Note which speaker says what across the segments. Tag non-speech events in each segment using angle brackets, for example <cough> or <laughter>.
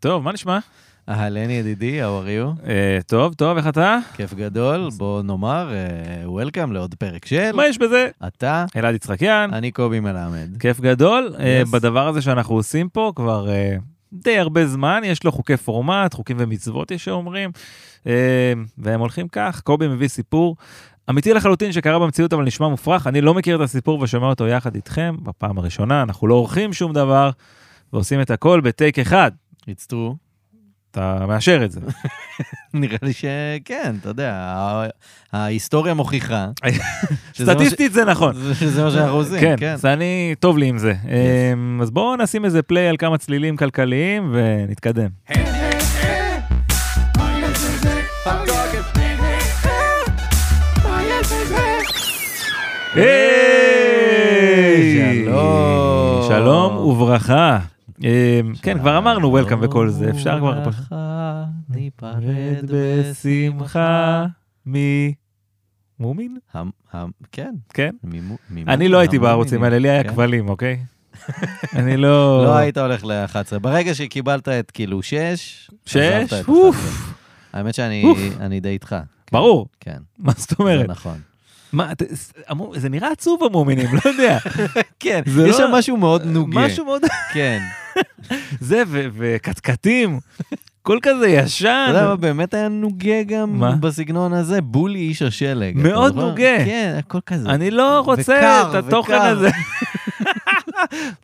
Speaker 1: טוב, מה נשמע?
Speaker 2: אהלן ידידי, how are you?
Speaker 1: אה, טוב, טוב, איך אתה?
Speaker 2: כיף גדול, בוא נאמר, אה, Welcome לעוד פרק של...
Speaker 1: מה יש בזה?
Speaker 2: אתה,
Speaker 1: אלעד יצחקיאן,
Speaker 2: אני קובי מלמד.
Speaker 1: כיף גדול. אה,
Speaker 2: Yes.
Speaker 1: בדבר הזה שאנחנו עושים פה כבר אה, די הרבה זמן, יש לו חוקי פורמט, חוקים ומצוות, יש שאומרים, אה, והם הולכים כך, קובי מביא סיפור. אמיתי לחלוטין שקרה במציאות אבל נשמע מופרך, אני לא מכיר את הסיפור ושומע אותו יחד איתכם בפעם הראשונה, אנחנו לא עורכים שום דבר ועושים את הכל בטייק אחד.
Speaker 2: It's true. <laughs>
Speaker 1: אתה מאשר את זה.
Speaker 2: נראה לי שכן, אתה יודע, ה- ההיסטוריה מוכיחה. שזה מה ש-
Speaker 1: סטטיסטית זה נכון.
Speaker 2: שזה מה שאנחנו עושים,
Speaker 1: כן,
Speaker 2: כן.
Speaker 1: אז אני, טוב לי עם זה. אמ, אז בואו נשים איזה פליי על כמה צלילים כלכליים ונתקדם. היי!
Speaker 2: שלום.
Speaker 1: שלום וברכה. אמ, כן, כבר אמרנו
Speaker 2: שלום
Speaker 1: Welcome וכל זה, אפשר כבר...
Speaker 2: וברכה, ניפרד
Speaker 1: רד
Speaker 2: בשמחה.
Speaker 1: בשמחה ממומין?
Speaker 2: המ- המ- כן.
Speaker 1: כן.
Speaker 2: מימו- מימו-
Speaker 1: אני לא הייתי
Speaker 2: המון
Speaker 1: בערוצים
Speaker 2: מינים.
Speaker 1: האלה, לי היה
Speaker 2: כן.
Speaker 1: כבלים,
Speaker 2: <laughs>
Speaker 1: אוקיי? אני לא...
Speaker 2: לא היית הולך ל-11. ברגע שקיבלת את כאילו 6,
Speaker 1: שש? אוף,
Speaker 2: האמת שאני
Speaker 1: אוף.
Speaker 2: אני די איתך. כן,
Speaker 1: ברור.
Speaker 2: כן,
Speaker 1: מה זאת
Speaker 2: זה
Speaker 1: אומרת?
Speaker 2: נכון.
Speaker 1: מה, ת- ס- המו- זה נראה עצוב המומינים, לא יודע.
Speaker 2: <laughs> כן,
Speaker 1: זה לא-
Speaker 2: יש שם משהו מאוד נוגה.
Speaker 1: משהו מאוד...
Speaker 2: כן.
Speaker 1: זה, ו- וקטקטים, כל כזה ישן.
Speaker 2: אתה
Speaker 1: <laughs>
Speaker 2: יודע מה, באמת היה נוגה גם
Speaker 1: מה?
Speaker 2: בסגנון הזה, בולי איש השלג. אתה
Speaker 1: מאוד
Speaker 2: זוכר?
Speaker 1: נוגה.
Speaker 2: כן, הכל כזה.
Speaker 1: אני לא רוצה
Speaker 2: וקר,
Speaker 1: את התוכן
Speaker 2: וקר.
Speaker 1: הזה. <laughs>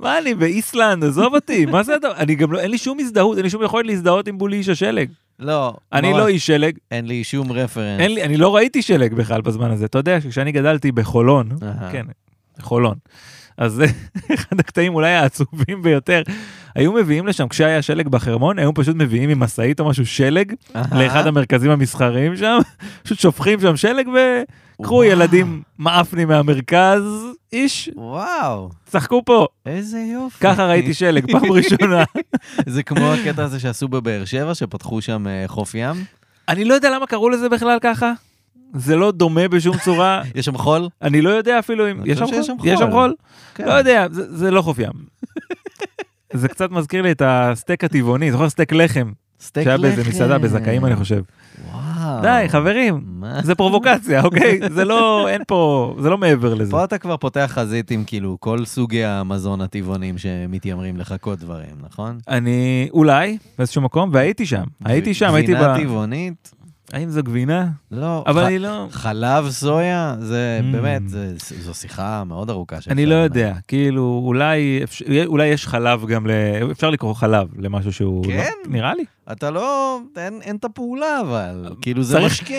Speaker 1: מה אני באיסלנד, עזוב אותי, מה זה הדבר? אני גם לא, אין לי שום הזדהות, אין לי שום יכולת להזדהות עם בולי איש השלג.
Speaker 2: לא,
Speaker 1: אני
Speaker 2: ממש,
Speaker 1: לא איש שלג,
Speaker 2: אין לי שום רפרנס.
Speaker 1: אין לי, אני לא ראיתי שלג בכלל בזמן הזה. אתה יודע שכשאני גדלתי בחולון,
Speaker 2: אהה.
Speaker 1: כן, חולון, אז זה <laughs> אחד הקטעים אולי העצובים ביותר. היו מביאים לשם, כשהיה שלג בחרמון, היו פשוט מביאים עם משאית או משהו שלג
Speaker 2: אהה.
Speaker 1: לאחד המרכזים המסחריים שם, <laughs> פשוט שופכים שם שלג וקחו
Speaker 2: וואו.
Speaker 1: ילדים מאפנים מהמרכז, איש,
Speaker 2: וואו,
Speaker 1: צחקו פה,
Speaker 2: איזה יופי.
Speaker 1: ככה ראיתי שלג פעם ראשונה.
Speaker 2: זה כמו הקטע הזה שעשו בבאר שבע, שפתחו שם אה, חוף ים.
Speaker 1: אני לא יודע למה קראו לזה בכלל ככה, זה לא דומה בשום צורה,
Speaker 2: יש שם חול?
Speaker 1: אני לא יודע אפילו אם,
Speaker 2: אני
Speaker 1: יש שם
Speaker 2: חושב שיש
Speaker 1: חול?
Speaker 2: שם
Speaker 1: יש שם
Speaker 2: חול.
Speaker 1: חול?
Speaker 2: כן.
Speaker 1: לא יודע, זה זה לא חוף ים. זה קצת מזכיר לי את הסטייק הטבעוני, זוכר סטייק לחם,
Speaker 2: כן. סטייק
Speaker 1: שהיה
Speaker 2: לחם. אה.
Speaker 1: באיזה מסעדה בזכאים אני חושב.
Speaker 2: וואו.
Speaker 1: די, חברים,
Speaker 2: מה?
Speaker 1: זה פרובוקציה, אוקיי? זה לא, אין פה, זה לא מעבר לזה.
Speaker 2: פה אתה כבר פותח חזית עם כאילו כל סוגי המזון הטבעונים שמתיימרים לחכות דברים, נכון?
Speaker 1: אני אולי באיזשהו מקום והייתי שם הייתי שם הייתי ב...
Speaker 2: גבינה טבעונית?
Speaker 1: האם זו גבינה
Speaker 2: לא.
Speaker 1: אבל
Speaker 2: ח-
Speaker 1: אני לא
Speaker 2: חלב סויה? זה
Speaker 1: Mm.
Speaker 2: באמת, זה- זו שיחה מאוד ארוכה. שאפשר
Speaker 1: אני לא
Speaker 2: לנהל.
Speaker 1: יודע כאילו אולי אפשר- אולי יש חלב גם ל... אפשר לקרוא חלב למשהו שהוא
Speaker 2: כן?
Speaker 1: לא- נראה לי
Speaker 2: אתה לא, אין אין את הפעולה אבל, כאילו זה
Speaker 1: צריך-
Speaker 2: משקה.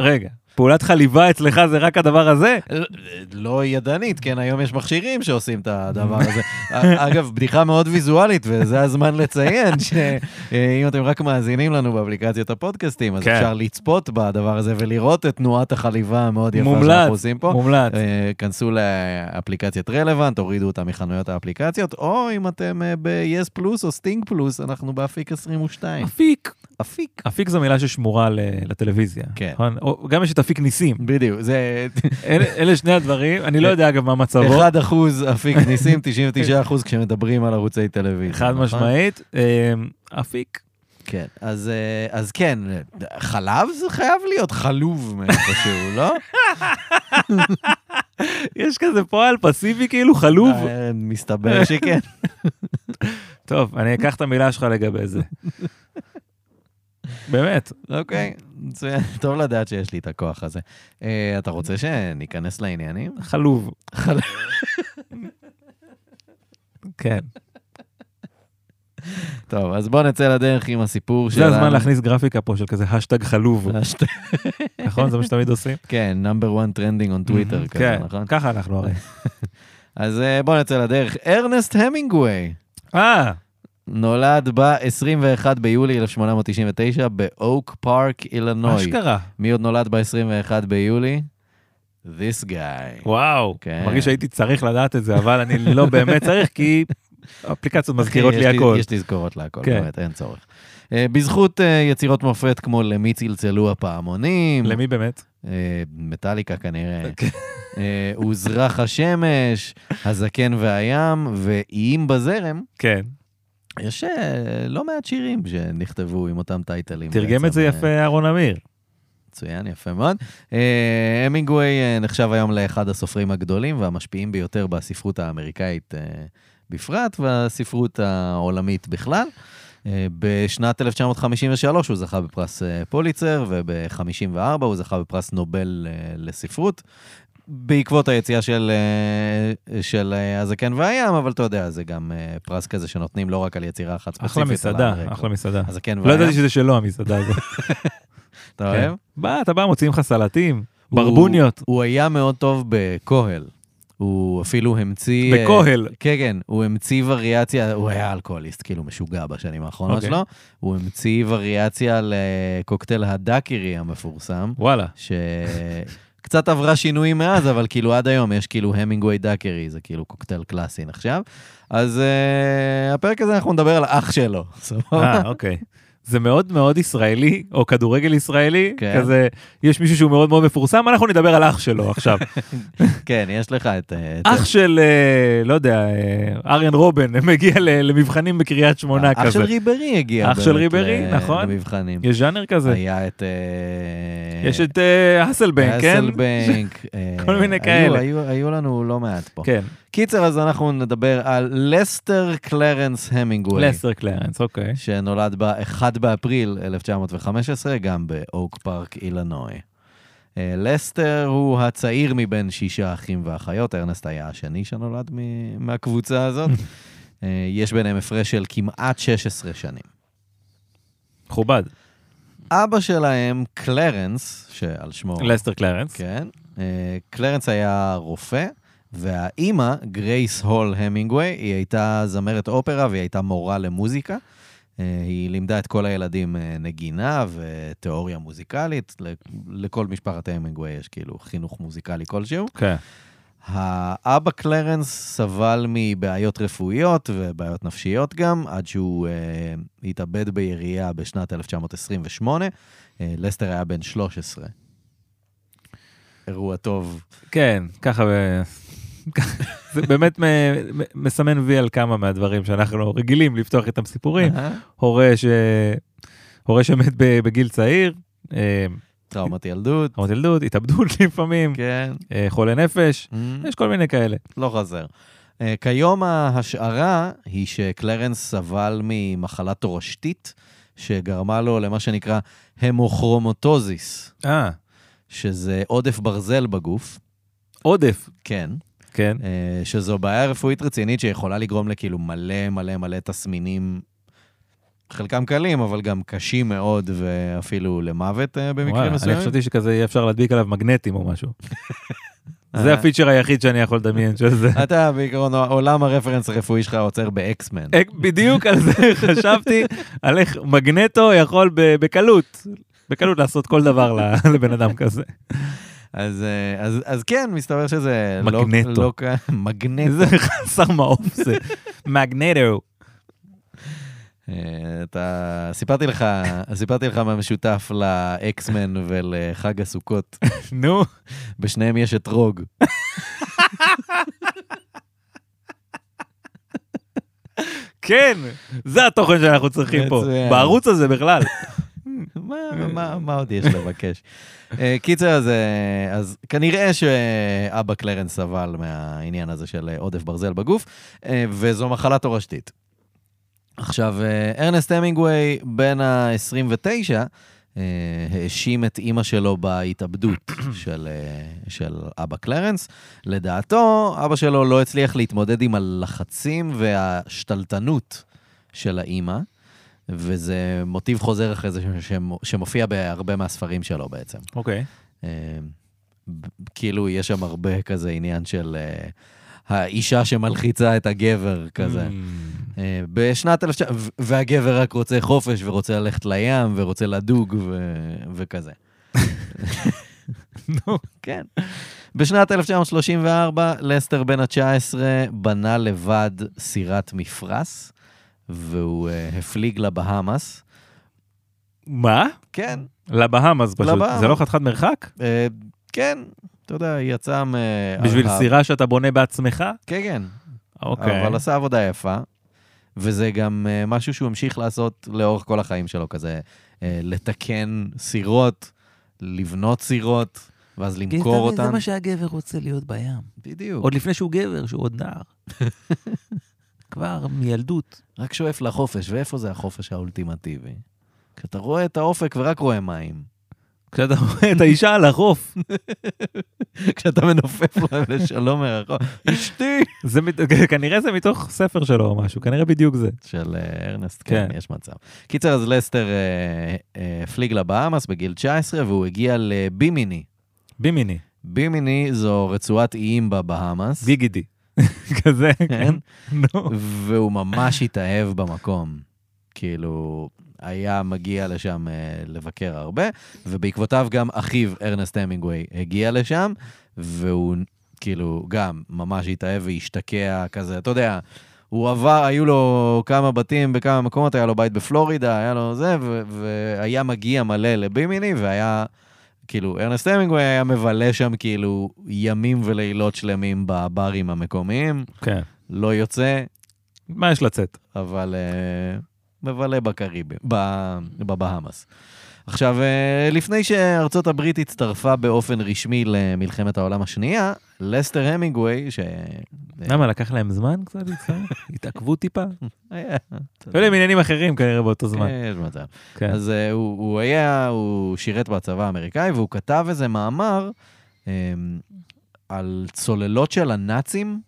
Speaker 1: רגע פעולת חליבה אצלך זה רק הדבר הזה
Speaker 2: לא- לא ידנית, כן, היום יש מכשירים שעושים את הדבר הזה. <laughs> א- אגב, בדיחה מאוד ויזואלית, וזה הזמן לציין שאם אתם רק מאזינים לנו באפליקציות הפודקאסטים, אז
Speaker 1: כן.
Speaker 2: אפשר לצפות בדבר הזה ולראות את תנועת החליבה המאוד יפה
Speaker 1: מומלץ
Speaker 2: שאנחנו עושים פה.
Speaker 1: מומלץ
Speaker 2: אה, כנסו לאפליקציית רלוונט, הורידו אותה מחנויות האפליקציות, או אם אתם אה, ב-yes פלוס או סטינג פלוס, אנחנו באפיק 22.
Speaker 1: אפיק
Speaker 2: אפיק.
Speaker 1: אפיק זו מילה ששמורה ל- לטלוויזיה
Speaker 2: כן.
Speaker 1: נכון? או- גם יש את אפיק ניסים
Speaker 2: בדיוק, זה
Speaker 1: אלה אלה שני הדברים אני
Speaker 2: אה,
Speaker 1: לא יודע אגב מה מצבו
Speaker 2: 1 אחוז אפיק ניסים, 99 אחוז כשמדברים על ערוצי טלוויזיה.
Speaker 1: חד
Speaker 2: נכון?
Speaker 1: משמעית אה, אפיק
Speaker 2: כן, אז, אה, אז כן, חלב זה חייב להיות חלוב מאיפשהו,
Speaker 1: <laughs>
Speaker 2: לא?
Speaker 1: יש כזה פועל פסיבי כאילו חלוב
Speaker 2: אה, מסתבר שכן.
Speaker 1: טוב, אני אקח את המילה שלך לגבי
Speaker 2: <laughs>
Speaker 1: זה. באמת.
Speaker 2: אוקיי, מצוין. טוב לדעת שיש לי את הכוח הזה. אה, אתה רוצה שניכנס לעניינים?
Speaker 1: חלוב.
Speaker 2: חל- <laughs>
Speaker 1: כן.
Speaker 2: טוב, אז בוא נצא לדרך עם הסיפור
Speaker 1: זה
Speaker 2: שלנו.
Speaker 1: הזמן להכניס גרפיקה פה של כזה השטג
Speaker 2: <laughs>
Speaker 1: חלוב,
Speaker 2: להכניס...
Speaker 1: נכון? זה מה שתמיד עושים?
Speaker 2: כן, number one trending on Twitter כזה,
Speaker 1: כן,
Speaker 2: נכון?
Speaker 1: ככה אנחנו
Speaker 2: <laughs>
Speaker 1: הרי.
Speaker 2: אז אה, בוא נצא לדרך. ארנסט המינגווי
Speaker 1: אה,
Speaker 2: נולד ב-21 ביולי 1899 באוק פארק, אילנוי.
Speaker 1: אשכרה.
Speaker 2: מי עוד נולד ב-21 ביולי? This guy.
Speaker 1: וואו.
Speaker 2: כן.
Speaker 1: מרגיש שהייתי צריך לדעת את זה, אבל אני לא באמת צריך, כי
Speaker 2: <laughs>
Speaker 1: אפליקציות מזכירות
Speaker 2: אחי,
Speaker 1: לי
Speaker 2: יש
Speaker 1: הכל.
Speaker 2: יש תזכורות להכל,
Speaker 1: כן.
Speaker 2: באמת, אין צורך. אה, בזכות אה, יצירות מופת כמו למי צלצלו הפעמונים,
Speaker 1: למי באמת?
Speaker 2: אה, מטאליקה כנראה,
Speaker 1: <laughs> כן.
Speaker 2: אה, הוזרח השמש, הזקן והים ואיים בזרם,
Speaker 1: כן.
Speaker 2: יש אה, לא מעט שירים שנכתבו עם אותם טייטלים.
Speaker 1: תרגם
Speaker 2: בעצם,
Speaker 1: את זה
Speaker 2: אה,
Speaker 1: יפה אהרון אמיר.
Speaker 2: מצוין, יפה מאוד. אה, המינגווי אה, נחשב היום לאחד הסופרים הגדולים והמשפיעים ביותר בספרות האמריקאית אה, בפרט, והספרות העולמית בכלל. אה, בשנת 1953 הוא זכה בפרס אה, פוליצר, וב-54 הוא זכה בפרס נובל אה, לספרות. בעקבות היציאה של, אה, של אה, הזקן והים, אבל אתה יודע, זה גם אה, פרס כזה שנותנים לא רק על יצירה אחת ספציפית.
Speaker 1: אחלה
Speaker 2: אלא
Speaker 1: מסעדה,
Speaker 2: על רקע.
Speaker 1: אחלה מסעדה.
Speaker 2: הזקן
Speaker 1: לא
Speaker 2: והים,
Speaker 1: ידעתי שזה כן. שלו המסעדה הזאת.
Speaker 2: אתה אוהב?
Speaker 1: בא, אתה בא, מוציאים לך סלטים,
Speaker 2: הוא-
Speaker 1: ברבוניות,
Speaker 2: הוא היה מאוד טוב בקוהל. הוא אפילו המציא... אה,
Speaker 1: בקוהל.
Speaker 2: כן, כן, הוא המציא וריאציה, הוא היה אלכוהוליסט, כאילו משוגע בשנים האחרונות
Speaker 1: אוקיי.
Speaker 2: שלו. הוא המציא וריאציה לקוקטייל הדקירי המפורסם,
Speaker 1: וואלה.
Speaker 2: שקצת עברה שינויים מאז, אבל כאילו עד היום יש כאילו המינגווי דקירי, זה כאילו קוקטייל קלאסי נחשב. אז אה, הפרק הזה אנחנו נדבר על אח שלו, <laughs> סבבה?
Speaker 1: אה, אוקיי. זה מאוד מאוד ישראלי, או כדורגל ישראלי,
Speaker 2: כן.
Speaker 1: כזה, יש מישהו שהוא מאוד מאוד מפורסם, אנחנו נדבר על אח שלו
Speaker 2: <laughs>
Speaker 1: עכשיו.
Speaker 2: כן, יש לך את... אה, את-
Speaker 1: אה. אח של, אה, לא יודע, אה, אריאן רובן, <laughs> מגיע ל- למבחנים בקריית שמונה
Speaker 2: אה, אח
Speaker 1: כזה.
Speaker 2: של ריברי הגיע.
Speaker 1: אח של
Speaker 2: באמת
Speaker 1: ריברי,
Speaker 2: ל-
Speaker 1: נכון.
Speaker 2: למבחנים.
Speaker 1: יש ז'אנר כזה.
Speaker 2: היה את... אה,
Speaker 1: יש את אה, האסלבנק, כן? <laughs>
Speaker 2: אסלבנק, אה,
Speaker 1: כל מיני
Speaker 2: היו-
Speaker 1: כאלה.
Speaker 2: היו- היו לנו לא מעט פה.
Speaker 1: כן,
Speaker 2: קיצר, אז אנחנו נדבר על לסטר קלרנס המינגווי,
Speaker 1: לסטר קלרנס, אוקיי.
Speaker 2: שנולד ב-1 באפריל 1915, גם באוק פארק, אילנוי. אה, לסטר הוא הצעיר מבין שישה אחים ואחיות, ארנסט היה השני שנולד מ- מהקבוצה
Speaker 1: <laughs>
Speaker 2: הזאת. אה, יש ביניהם הפרש של כמעט 16 שנים.
Speaker 1: מכובד.
Speaker 2: אבא שלהם, קלרנס, שעל שמו...
Speaker 1: לסטר קלרנס.
Speaker 2: כן. אה, קלרנס היה רופא, והאימא, גרייס הול המינגווי, היא הייתה זמרת אופרה והיא הייתה מורה למוזיקה. אה, היא לימדה את כל הילדים אה, נגינה ותיאוריה מוזיקלית. ל- לכל משפחת המינגווי יש כאילו חינוך מוזיקלי כלשהו.
Speaker 1: כן.
Speaker 2: האבא קלרנס סבל מבעיות רפואיות ובעיות נפשיות גם, עד שהוא אה, התאבד בירייה בשנת 1928. אה, לסטר היה בן 13. אירוע טוב.
Speaker 1: כן, ככה... אה, <laughs> זה באמת מ- מ- מסמן וי על כמה מהדברים שאנחנו רגילים לפתוח איתם סיפורים. הורה, ש... הורה שמת ב- בגיל צעיר, אה,
Speaker 2: טראומת ילדות,
Speaker 1: חמת ילדות, התאבדות <laughs> לפעמים,
Speaker 2: כן, אה?
Speaker 1: אה, חולה נפש, יש כל מיני כאלה.
Speaker 2: לא חזר. אה, כיום ההשערה היא שקלרנס סבל ממחלה תורשתית שגרמה לו למה שנקרא המוכרומוטוזיס,
Speaker 1: אה,
Speaker 2: שזה עודף ברזל בגוף,
Speaker 1: עודף.
Speaker 2: כן,
Speaker 1: כן,
Speaker 2: אה, שזו בעיה רפואית רצינית שיכולה לגרום לכאילו מלא מלא מלא תסמינים, חלקם קלים, אבל גם קשים מאוד ואפילו למוות אה,
Speaker 1: וואי,
Speaker 2: במקרים
Speaker 1: אני
Speaker 2: מסוימים.
Speaker 1: חשבתי שכזה יהיה אפשר להדביק עליו מגנטים או משהו. זה
Speaker 2: אה.
Speaker 1: הפיצ'ר היחיד שאני יכול לדמיין של זה.
Speaker 2: אתה בעיקרון, עולם הרפרנס הרפואי שלך עוצר באקסמן.
Speaker 1: אה, בדיוק על זה <laughs> חשבתי, על איך מגנטו יכול ב- בקלות, בקלות לעשות כל דבר ל- <laughs> לבן אדם כזה.
Speaker 2: אז, אה, אז, אז כן, מסתבר שזה לא-
Speaker 1: מגנטו.
Speaker 2: לא... ק- <laughs> מגנטו.
Speaker 1: איזה חסר מעוף זה. מגנטו.
Speaker 2: אה, אתה... סיפרתי לך, סיפרתי לך מה משותף לאקסמן ולחג הסוכות.
Speaker 1: <laughs> נו,
Speaker 2: בשניהם יש את רוג.
Speaker 1: כן, זה התוכן שאנחנו צריכים פה,
Speaker 2: מצוין.
Speaker 1: בערוץ הזה בכלל.
Speaker 2: מה, מה, מה עוד יש לבקש? אה, קיצר, אז, אה, אז כנראה שאבא קלרנס סבל מהעניין הזה של אה, עודף ברזל בגוף, אה, וזו מחלה תורשתית. עכשיו, אה, ארנסט המינגווי, בן ה-29, אה, האשים את אימא שלו בהתאבדות של, אה, של אבא קלרנס. לדעתו, אבא שלו לא הצליח להתמודד עם הלחצים והשתלטנות של האימא. וזה מוטיב חוזר אחרי זה ש- ש- שמופיע בהרבה מהספרים שלו בעצם.
Speaker 1: אוקיי.
Speaker 2: אה, ב- כאילו, יש שם הרבה כזה עניין של אה, האישה שמלחיצה את הגבר
Speaker 1: Hmm. Mm.
Speaker 2: כזה. אה, בשנת 1900, ו- והגבר רק רוצה חופש ורוצה ללכת לים ורוצה לדוג ו- וכזה.
Speaker 1: נו.
Speaker 2: כן. בשנת 1934, לסטר בן ה-19 בנה לבד סירת מפרש, והוא אה, הפליג לבהאמאס.
Speaker 1: מה?
Speaker 2: כן,
Speaker 1: לבהאמאז פשוט.
Speaker 2: לבהאמאז.
Speaker 1: זה לא חתיכת מרחק?
Speaker 2: אה, כן, אתה יודע, יצא מ... אה,
Speaker 1: בשביל סירה שאתה בונה בעצמך?
Speaker 2: כן, כן.
Speaker 1: אוקיי.
Speaker 2: אבל עשה עבודה יפה. וזה גם אה, משהו שהוא המשיך לעשות לאורך כל החיים שלו, כזה אה, לתקן סירות, לבנות סירות, ואז למכור אותן.
Speaker 1: זה מה שהגבר רוצה להיות בים.
Speaker 2: בדיוק.
Speaker 1: עוד לפני שהוא גבר, שהוא עוד נער. <laughs> כבר מילדות.
Speaker 2: רק שואף לחופש, ואיפה זה החופש האולטימטיבי? כשאתה רואה את האופק ורק רואה מים. <laughs>
Speaker 1: כשאתה רואה את האישה על החוף,
Speaker 2: כשאתה מנופף להם לשלום מרחוק. אשתי!
Speaker 1: זה מת- כנראה זה מתוך ספר שלו או משהו, כנראה בדיוק זה.
Speaker 2: של אה, ארנסט, כן,
Speaker 1: כן.
Speaker 2: יש מצב. קיצר, אז לסטר אה, אה, הפליג לבאהמאס בגיל 19, והוא הגיע לבימיני.
Speaker 1: בימיני,
Speaker 2: בימיני זו רצועת איים בבהאמאס.
Speaker 1: גיגידי. <laughs> כזה, כן.
Speaker 2: כן.
Speaker 1: נו.
Speaker 2: והוא ממש התאהב במקום. כאילו, היה מגיע לשם אה, לבקר הרבה, ובעקבותיו גם אחיו, ארנסט המינגווי, הגיע לשם, והוא כאילו גם ממש התאהב והשתקע כזה, אתה יודע, הוא עבר, היו לו כמה בתים בכמה מקומות, היה לו בית בפלורידה, היה לו זה, ו- והיה מגיע מלא לבימיני, והיה... כאילו, ארנסט המינגווי היה מבלה שם כאילו ימים ולילות שלמים בברים המקומיים,
Speaker 1: כן.
Speaker 2: לא יוצא,
Speaker 1: מה יש לצאת?
Speaker 2: אבל אה, מבלה בקריבים, ב- בבהאמאס. עכשיו, אה, לפני שארצות הברית הצטרפה באופן רשמי למלחמת העולם השנייה, לסטר המינגווי, ש...
Speaker 1: למה, לקח להם זמן קצת להצטרף? <laughs> התעכבו טיפה?
Speaker 2: היה-
Speaker 1: היו להם עניינים אחרים כנראה באותו זמן.
Speaker 2: כן, יש מצב.
Speaker 1: כן.
Speaker 2: אז אה, הוא, הוא היה, הוא שירת בצבא האמריקאי, והוא כתב איזה מאמר אה, על צוללות של הנאצים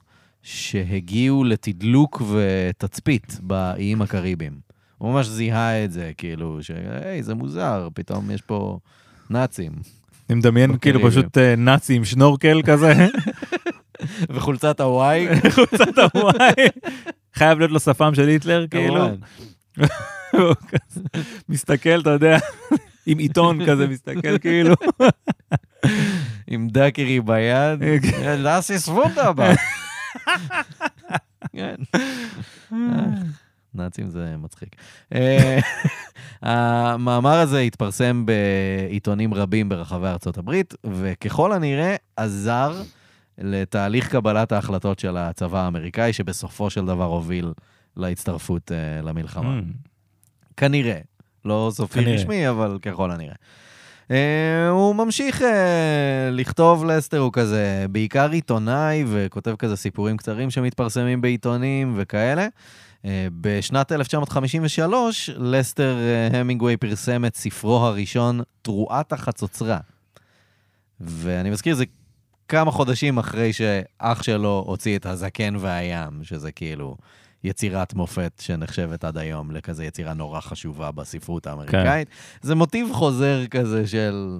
Speaker 2: שהגיעו לתדלוק ותצפית באיים הקריביים. הוא ממש זיהה את זה, כאילו, שהי, זה מוזר, פתאום יש פה נאצים.
Speaker 1: אני מדמיין
Speaker 2: אוקיי,
Speaker 1: כאילו
Speaker 2: ריבלין.
Speaker 1: פשוט אה, נאצי עם שנורקל כזה, <laughs>
Speaker 2: וחולצת הוואי, <laughs>
Speaker 1: חולצת הוואי. חייב להיות לו שפם של היטלר, כאילו.
Speaker 2: כמובן.
Speaker 1: והוא כזה מסתכל, אתה יודע, עם עיתון כזה מסתכל, כאילו.
Speaker 2: עם דקרי ביד, אה, לאסי <laughs> סבונדבה. כן. נאצים זה מצחיק. אה, המאמר הזה התפרסם בעיתונים רבים ברחבי ארצות הברית, וככל הנראה עזר לתהליך קבלת ההחלטות של הצבא האמריקאי, שבסופו של דבר הוביל להצטרפות אה, למלחמה. כנראה. לא סופי
Speaker 1: כנראה.
Speaker 2: רשמי, אבל ככל הנראה. אה, הוא ממשיך אה, לכתוב לסטר, הוא כזה בעיקר עיתונאי, וכותב כזה סיפורים קצרים שמתפרסמים בעיתונים וכאלה. אה, בשנת 1953, לסטר אה, המינגווי פרסם את ספרו הראשון, תרועת החצוצרה. ואני מזכיר, זה כמה חודשים אחרי שאח שלו הוציא את הזקן והים, שזה כאילו יצירת מופת שנחשבת עד היום לכזה יצירה נורא חשובה בספרות האמריקאית. כן. זה מוטיב חוזר כזה של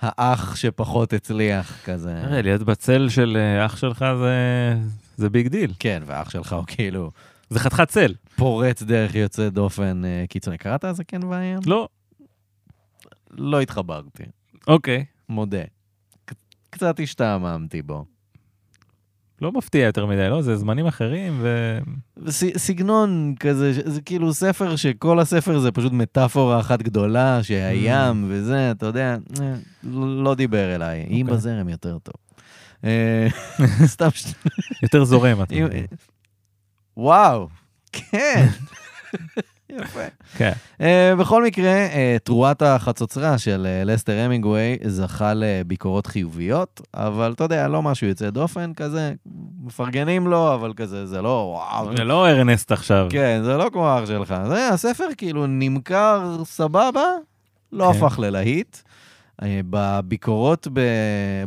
Speaker 2: האח שפחות הצליח, כזה.
Speaker 1: תראה, להיות בצל של אה, אח שלך זה- זה ביג דיל.
Speaker 2: כן, והאח שלך הוא כאילו
Speaker 1: זה חתיכת צל.
Speaker 2: פורץ דרך יוצא דופן אה, קיצוני. קראת הזקן והים?
Speaker 1: לא,
Speaker 2: לא התחברתי,
Speaker 1: אוקיי.
Speaker 2: מודה. ק- קצת השתעממתי בו.
Speaker 1: לא מפתיע יותר מדי, לא? זה זמנים אחרים, ו...
Speaker 2: ס- סגנון כזה, ש- זה כאילו ספר שכל הספר זה פשוט מטאפורה אחת גדולה,
Speaker 1: Mm.
Speaker 2: שהים וזה, אתה יודע, אה, לא לא דיבר אליי. אם
Speaker 1: אוקיי.
Speaker 2: בזרם יותר טוב. אה, <laughs> סתם ש...
Speaker 1: יותר זורם. אתה
Speaker 2: אם-
Speaker 1: מבין.
Speaker 2: וואו, כן. <laughs> יפה.
Speaker 1: כן.
Speaker 2: אה, בכל מקרה, אה, תרועת החצוצרה של אה, לסטר המינגווי זכה לביקורות חיוביות, אבל אתה יודע, לא משהו יוצא דופן כזה, מפרגנים לו, אבל כזה, זה לא וואו.
Speaker 1: זה לא ארנסט עכשיו.
Speaker 2: <laughs> כן, זה לא כמו אח שלך. זה, הספר כאילו נמכר סבבה, לא
Speaker 1: כן.
Speaker 2: הפך ללהיט. אה, בביקורות ב...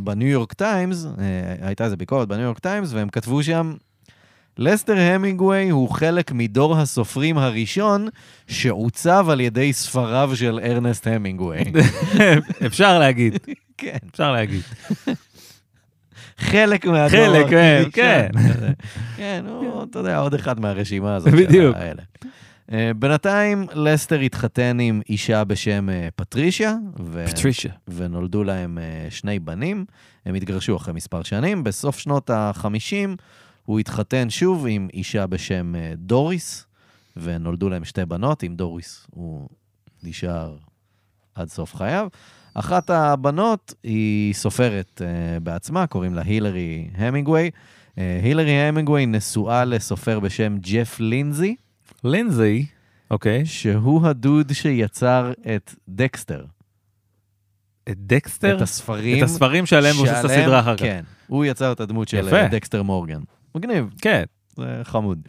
Speaker 2: בניו יורק טיימס, אה, הייתה איזה ביקורת בניו יורק טיימס, והם כתבו שם, לסטר המינגווי הוא חלק מדור הסופרים הראשון שעוצב על ידי ספריו של ארנסט המינגווי.
Speaker 1: <laughs> אפשר להגיד,
Speaker 2: כן.
Speaker 1: אפשר
Speaker 2: <laughs>
Speaker 1: להגיד.
Speaker 2: חלק מהדור.
Speaker 1: חלק,
Speaker 2: <laughs>
Speaker 1: כן,
Speaker 2: הראשון.
Speaker 1: כן.
Speaker 2: כן, הוא, אתה יודע, עוד אחד מהרשימה הזאת.
Speaker 1: בדיוק.
Speaker 2: של האלה. אה, בינתיים, לסטר התחתן עם אישה בשם אה, פטרישיה, ו-
Speaker 1: פטרישה.
Speaker 2: ונולדו להם אה, שני בנים. הם התגרשו אחרי מספר שנים. בסוף שנות ה-50 הוא התחתן שוב עם אישה בשם אה, דוריס, ונולדו להם שתי בנות. עם דוריס הוא נשאר עד סוף חייו. אחת הבנות היא סופרת אה, בעצמה, קוראים לה הילרי המינגווי. אה, הילרי המינגווי נשואה לסופר בשם ג'ף לינזי,
Speaker 1: לינזי, אוקיי,
Speaker 2: שהוא הדוד שיצר את דקסטר.
Speaker 1: את דקסטר,
Speaker 2: את הספרים.
Speaker 1: את הספרים שעליהם מבוססת
Speaker 2: שעליהם-
Speaker 1: הסדרה אחר כך.
Speaker 2: כן, הוא יצר את הדמות של
Speaker 1: יפה.
Speaker 2: אה, דקסטר מורגן. מגניב,
Speaker 1: כן,
Speaker 2: זה חמוד.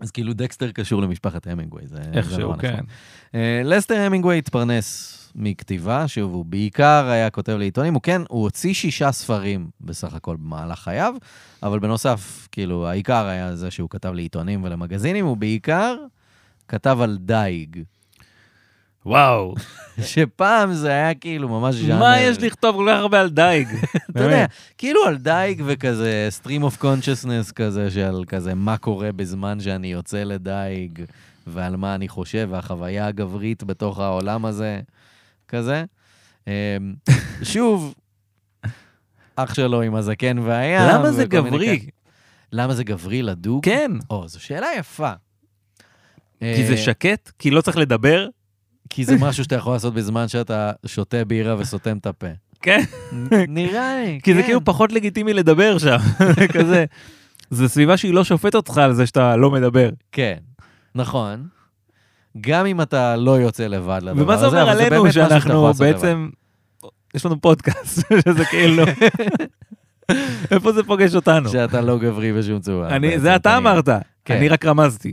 Speaker 2: אז כאילו דקסטר קשור למשפחת המינגווי, זה זה לא
Speaker 1: איכשהו,
Speaker 2: נורא נחמד.
Speaker 1: כן.
Speaker 2: אה, לסטר המינגווי התפרנס מכתיבה, שוב, הוא בעיקר היה כותב לעיתונים, הוא כן, הוא הוציא שישה ספרים בסך הכל במהלך חייו, אבל בנוסף, כאילו, העיקר היה זה שהוא כתב לעיתונים ולמגזינים, הוא בעיקר כתב על דייג, <laughs>
Speaker 1: וואו,
Speaker 2: שפעם זה היה כאילו ממש ז'אנר.
Speaker 1: מה יש לכתוב כל כך הרבה על
Speaker 2: <laughs>
Speaker 1: דייג?
Speaker 2: אתה יודע,
Speaker 1: באמת.
Speaker 2: כאילו על דייג וכזה stream of consciousness כזה של כזה מה קורה בזמן שאני יוצא לדייג ועל מה אני חושב והחוויה הגברית בתוך העולם הזה, כזה. אמ, <laughs> שוב, אח שלו עם הזקן והים.
Speaker 1: למה זה
Speaker 2: וכל מיני
Speaker 1: גברי?
Speaker 2: כאלה. למה זה גברי לדוג?
Speaker 1: כן,
Speaker 2: או, זו שאלה יפה.
Speaker 1: כי זה
Speaker 2: אה,
Speaker 1: שקט, כי לא צריך לדבר,
Speaker 2: כי זה משהו שאתה יכול לעשות בזמן שאתה שותה בירה וסותם את הפה.
Speaker 1: כן,
Speaker 2: נראה לי,
Speaker 1: כי זה
Speaker 2: כן.
Speaker 1: כאילו פחות לגיטימי לדבר שם, <laughs> כזה. זו סביבה שהיא לא שופטת אותך על זה שאתה לא מדבר.
Speaker 2: כן, נכון. גם אם אתה לא יוצא לבד לדבר הזה,
Speaker 1: ומה זה אומר
Speaker 2: אבל באמת
Speaker 1: עלינו
Speaker 2: משהו שאתה יכול
Speaker 1: שאנחנו
Speaker 2: לעשות לבד.
Speaker 1: בעצם, יש לנו פודקאסט, <laughs> שזה
Speaker 2: <laughs>
Speaker 1: כאילו, איפה זה פוגש אותנו?
Speaker 2: שאתה לא גברי בשום צורה.
Speaker 1: אני-
Speaker 2: בעצם,
Speaker 1: זה אתה
Speaker 2: אני-
Speaker 1: אמרת,
Speaker 2: כן.
Speaker 1: אני רק רמזתי.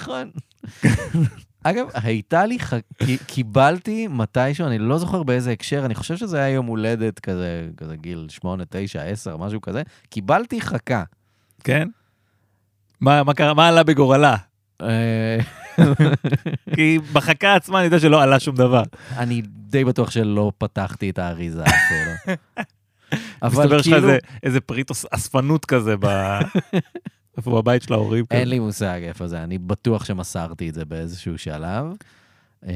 Speaker 2: נכון. אגב, הייתה לי, ח- כי- קיבלתי מתישהו, אני לא זוכר באיזה הקשר, אני חושב שזה היה יום הולדת כזה, כזה גיל 8, 9, 10, משהו כזה, קיבלתי חכה.
Speaker 1: כן? מה מה קרה, מה עלה בגורלה?
Speaker 2: אה,
Speaker 1: כי בחכה עצמה אני יודע שלא עלה שום דבר.
Speaker 2: אני די בטוח שלא פתחתי את האריזה
Speaker 1: <laughs>
Speaker 2: כאילו- אפילו.
Speaker 1: מסתבר שיש לך איזה- איזה פריט אוס- אספנות כזה ב... <laughs> איפה בבית של ההורים. כן. כזה.
Speaker 2: אין לי מושג איפה זה, אני בטוח שמסרתי את זה באיזשהו שלב. אמ,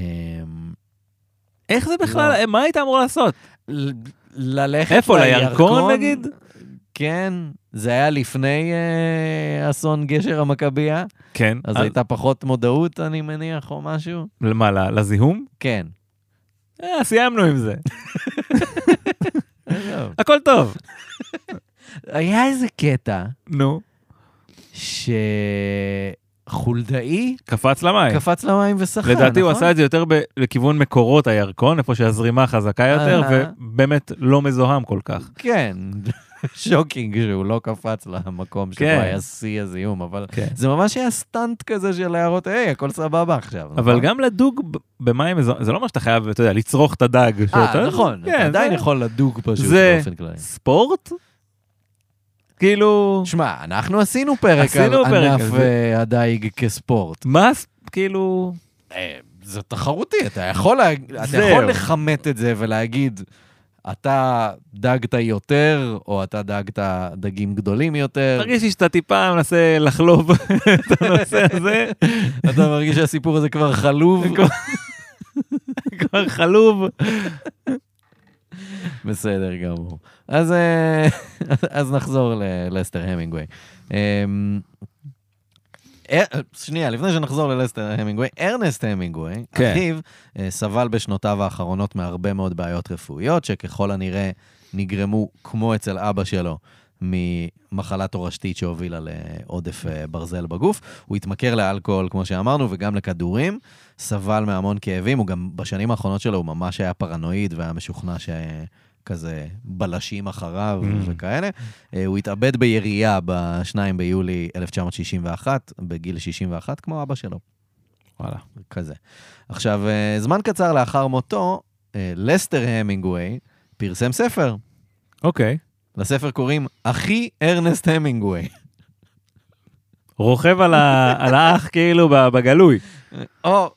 Speaker 1: איך זה בכלל, מה היית אמור לעשות?
Speaker 2: ל- ללכת
Speaker 1: איפה, לירקון נגיד?
Speaker 2: כן, זה היה לפני אה, אסון גשר המכבייה,
Speaker 1: כן.
Speaker 2: אז הייתה פחות מודעות, אני מניח, או משהו.
Speaker 1: למה, ל- לזיהום?
Speaker 2: כן.
Speaker 1: אה, סיימנו עם <laughs> זה. הכל טוב.
Speaker 2: היה איזה קטע
Speaker 1: נו.
Speaker 2: שחולדאי
Speaker 1: קפץ למים.
Speaker 2: קפץ למים ושחה, נכון?
Speaker 1: אה. לדעתי הוא עשה את זה יותר ב- לכיוון מקורות הירקון, איפה שהזרימה חזקה יותר,
Speaker 2: אהה.
Speaker 1: ובאמת לא מזוהם כל כך.
Speaker 2: כן, שוקינג שהוא לא קפץ למקום שבו
Speaker 1: כן.
Speaker 2: היה שיא הזיהום, אבל
Speaker 1: כן.
Speaker 2: זה ממש היה סטנט כזה של להראות, היי, הכל סבבה עכשיו.
Speaker 1: אבל
Speaker 2: נכון?
Speaker 1: גם לדוג ב- במים מזוהם, זה לא אומר שאתה חייב, אתה יודע, לצרוך את הדג. שאתה-
Speaker 2: אה, נכון,
Speaker 1: כן,
Speaker 2: אתה עדיין
Speaker 1: זה-
Speaker 2: יכול לדוג פשוט
Speaker 1: זה-
Speaker 2: באופן כללי.
Speaker 1: ספורט? כאילו,
Speaker 2: שמע, אנחנו עשינו פרק על
Speaker 1: עשינו פרק על
Speaker 2: ענף
Speaker 1: זה.
Speaker 2: אה, הדייג כספורט.
Speaker 1: מה, הס- כאילו,
Speaker 2: אה, זה תחרותי, אתה יכול להג- אתה
Speaker 1: זהו.
Speaker 2: יכול לכמת את זה ולהגיד, אתה דגת יותר, או אתה דגת דגים גדולים יותר.
Speaker 1: מרגיש לי שאתה טיפה מנסה לחלוב את הנושא הזה, <laughs>
Speaker 2: אתה מרגיש שהסיפור הזה כבר חלוב.
Speaker 1: כבר חלוב.
Speaker 2: בסדר גמור. אז, אה, <laughs> אז נחזור ללסטר המינגווי. אמ, אה, שנייה, לפני שנחזור ללסטר המינגווי, ארנסט המינגווי,
Speaker 1: כן.
Speaker 2: אחיו, אה, סבל בשנותיו האחרונות מהרבה מאוד בעיות רפואיות, שככל הנראה נגרמו, כמו אצל אבא שלו, ממחלה תורשתית שהובילה לעודף אה, ברזל בגוף. הוא התמכר לאלכוהול, כמו שאמרנו, וגם לכדורים. סבל מהמון כאבים, הוא גם בשנים האחרונות שלו הוא ממש היה פרנואיד והיה משוכנע שכזה בלשים אחריו
Speaker 1: Mm.
Speaker 2: וכאלה. אה, הוא התאבד בירייה ב-2 ביולי 1961, בגיל 61, כמו אבא שלו,
Speaker 1: וואלה.
Speaker 2: כזה. עכשיו, אה, זמן קצר לאחר מותו, אה, לסטר המינגווי פרסם ספר.
Speaker 1: אוקיי.
Speaker 2: לספר קוראים אחי ארנסט המינגווי.
Speaker 1: רוכב על ה- על האח כאילו ב- בגלוי.
Speaker 2: או,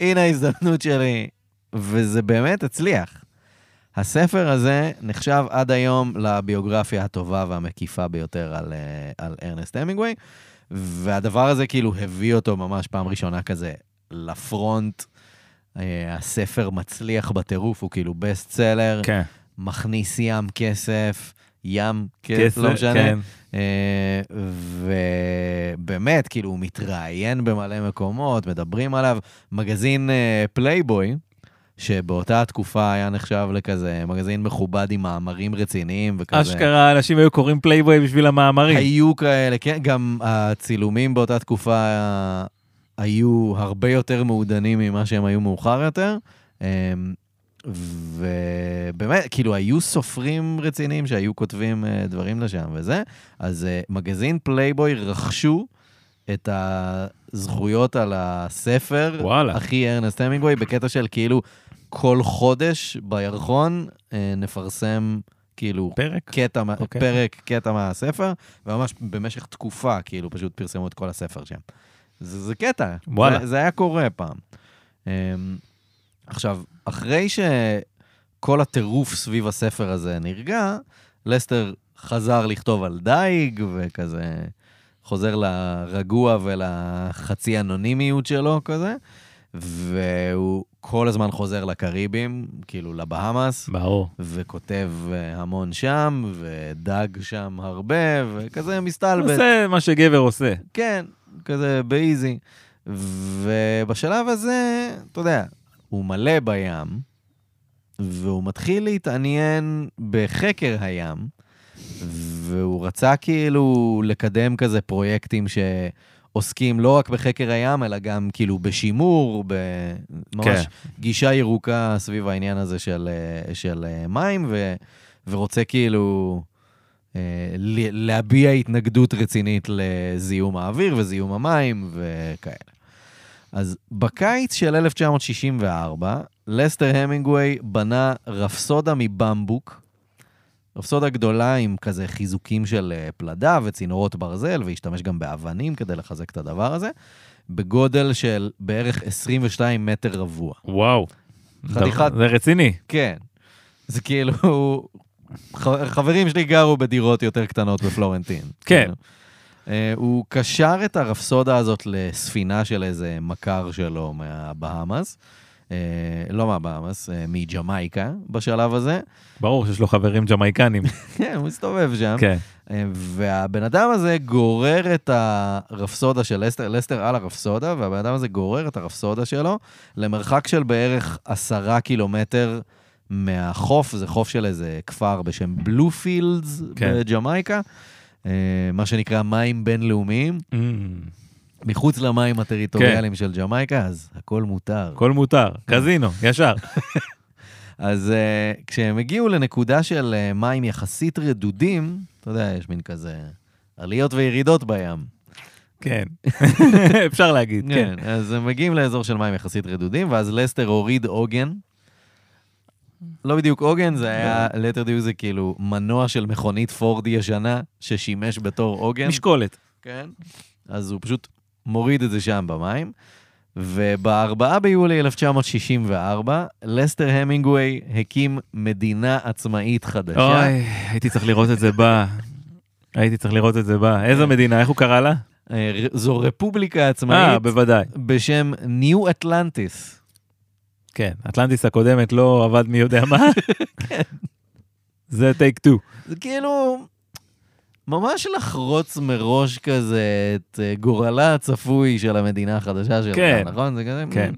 Speaker 2: הנה ההזדמנות שלי. וזה באמת הצליח. הספר הזה נחשב עד היום לביוגרפיה הטובה והמקיפה ביותר על, אה, על ארנסט המינגווי, והדבר הזה כאילו הביא אותו ממש פעם ראשונה כזה לפרונט. אה, הספר מצליח בטירוף, הוא כאילו בסט סלר,
Speaker 1: כן.
Speaker 2: מכניס ים כסף, ים כסף,
Speaker 1: כסף,
Speaker 2: לא משנה.
Speaker 1: כן.
Speaker 2: אה, ובאמת, כאילו, הוא מתראיין במלא מקומות, מדברים עליו. מגזין אה, פלייבוי שבאותה התקופה היה נחשב לכזה מגזין מכובד עם מאמרים רציניים וכזה.
Speaker 1: אשכרה, אנשים היו קוראים פלייבוי בשביל המאמרים.
Speaker 2: היו כאלה, כן, גם הצילומים באותה תקופה אה, היו הרבה יותר מעודנים ממה שהם היו מאוחר יותר. אמ, ובאמת, כאילו, היו סופרים רציניים שהיו כותבים אה, דברים לשם וזה, אז אה, מגזין פלייבוי רכשו את הזכויות על הספר,
Speaker 1: וואלה.
Speaker 2: אחי ארנסט המינגווי, בקטע של כאילו, כל חודש בירחון אה, נפרסם כאילו
Speaker 1: פרק?
Speaker 2: קטע, מה-
Speaker 1: אוקיי.
Speaker 2: פרק, קטע מהספר, וממש במשך תקופה, כאילו, פשוט פרסמו את כל הספר שם. זה, זה קטע.
Speaker 1: וואלה.
Speaker 2: זה, זה היה קורה פעם. אמ, עכשיו, אחרי שכל הטירוף סביב הספר הזה נרגע, לסטר חזר לכתוב על דייג, וכזה חוזר לרגוע ולחצי אנונימיות שלו כזה, והוא כל הזמן חוזר לקריבים, כאילו לבהמאס.
Speaker 1: ברור.
Speaker 2: וכותב אה, המון שם, ודג שם הרבה, וכזה מסתלבט.
Speaker 1: זה מה שגבר עושה.
Speaker 2: כן, כזה באיזי. ובשלב הזה, אתה יודע, הוא מלא בים, והוא מתחיל להתעניין בחקר הים, והוא רצה כאילו לקדם כזה פרויקטים שעוסקים לא רק בחקר הים, אלא גם כאילו בשימור, בממש
Speaker 1: כן.
Speaker 2: גישה ירוקה סביב העניין הזה של, אה, של אה, מים, ו, ורוצה כאילו אה, ל- להביע התנגדות רצינית לזיהום האוויר וזיהום המים וכאלה. אז בקיץ של 1964, לסטר המינגווי בנה רפסודה מבמבוק, רפסודה גדולה עם כזה חיזוקים של אה, פלדה וצינורות ברזל, והשתמש גם באבנים כדי לחזק את הדבר הזה, בגודל של בערך 22 מטר רבוע.
Speaker 1: וואו.
Speaker 2: חתיכת-
Speaker 1: זה רציני.
Speaker 2: כן. זה כאילו... ח- חברים שלי גרו בדירות יותר קטנות בפלורנטין. כאילו.
Speaker 1: כן.
Speaker 2: אה, הוא קשר את הרפסודה הזאת לספינה של איזה מכר שלו מהבהאמאס, אה, לא מהבהאמאס, אה, מג'מייקה בשלב הזה.
Speaker 1: ברור שיש לו חברים ג'מייקנים.
Speaker 2: כן, הוא הסתובב שם.
Speaker 1: <laughs> כן.
Speaker 2: אה, והבן אדם הזה גורר את הרפסודה של לסטר, לסטר על הרפסודה, והבן אדם הזה גורר את הרפסודה שלו למרחק של בערך עשרה קילומטר מהחוף, זה חוף של איזה כפר בשם בלופילדס
Speaker 1: כן.
Speaker 2: בג'מייקה, אה, מה שנקרא מים בינלאומיים,
Speaker 1: Mm,
Speaker 2: מחוץ למים הטריטוריאליים של ג'מייקה, אז הכל מותר.
Speaker 1: הכל מותר. קזינו, ישר.
Speaker 2: אז uh, כשהם הגיעו לנקודה של uh, מים יחסית רדודים, אתה יודע, יש מין כזה עליות וירידות בים.
Speaker 1: כן. <laughs> אפשר להגיד, כן.
Speaker 2: כן, אז הם מגיעים לאזור של מים יחסית רדודים, ואז לסטר הוריד עוגן. לא בדיוק עוגן, זה היה,
Speaker 1: לא.
Speaker 2: ליתר דיוק זה כאילו מנוע של מכונית פורד ישנה, ששימש בתור עוגן.
Speaker 1: משקולת.
Speaker 2: כן. אז הוא פשוט מוריד את זה שם במים. וב-4 ביולי 1964, לסטר המינגווי הקים מדינה עצמאית חדשה.
Speaker 1: אוי, הייתי צריך לראות את זה בא. הייתי צריך לראות את זה בא. איזו מדינה, איך הוא קרא לה?
Speaker 2: אה, ר- זו רפובליקה
Speaker 1: אה,
Speaker 2: עצמאית
Speaker 1: בוודאי.
Speaker 2: בשם ניו אטלנטיס.
Speaker 1: כן, אטלנטיס הקודמת לא עבד מי יודע מה. זה טייק טו.
Speaker 2: זה כאילו ממש לחרוץ מראש כזה את אה, גורלה הצפוי של המדינה החדשה שלך,
Speaker 1: כן.
Speaker 2: נכון? זה כזה...
Speaker 1: כן.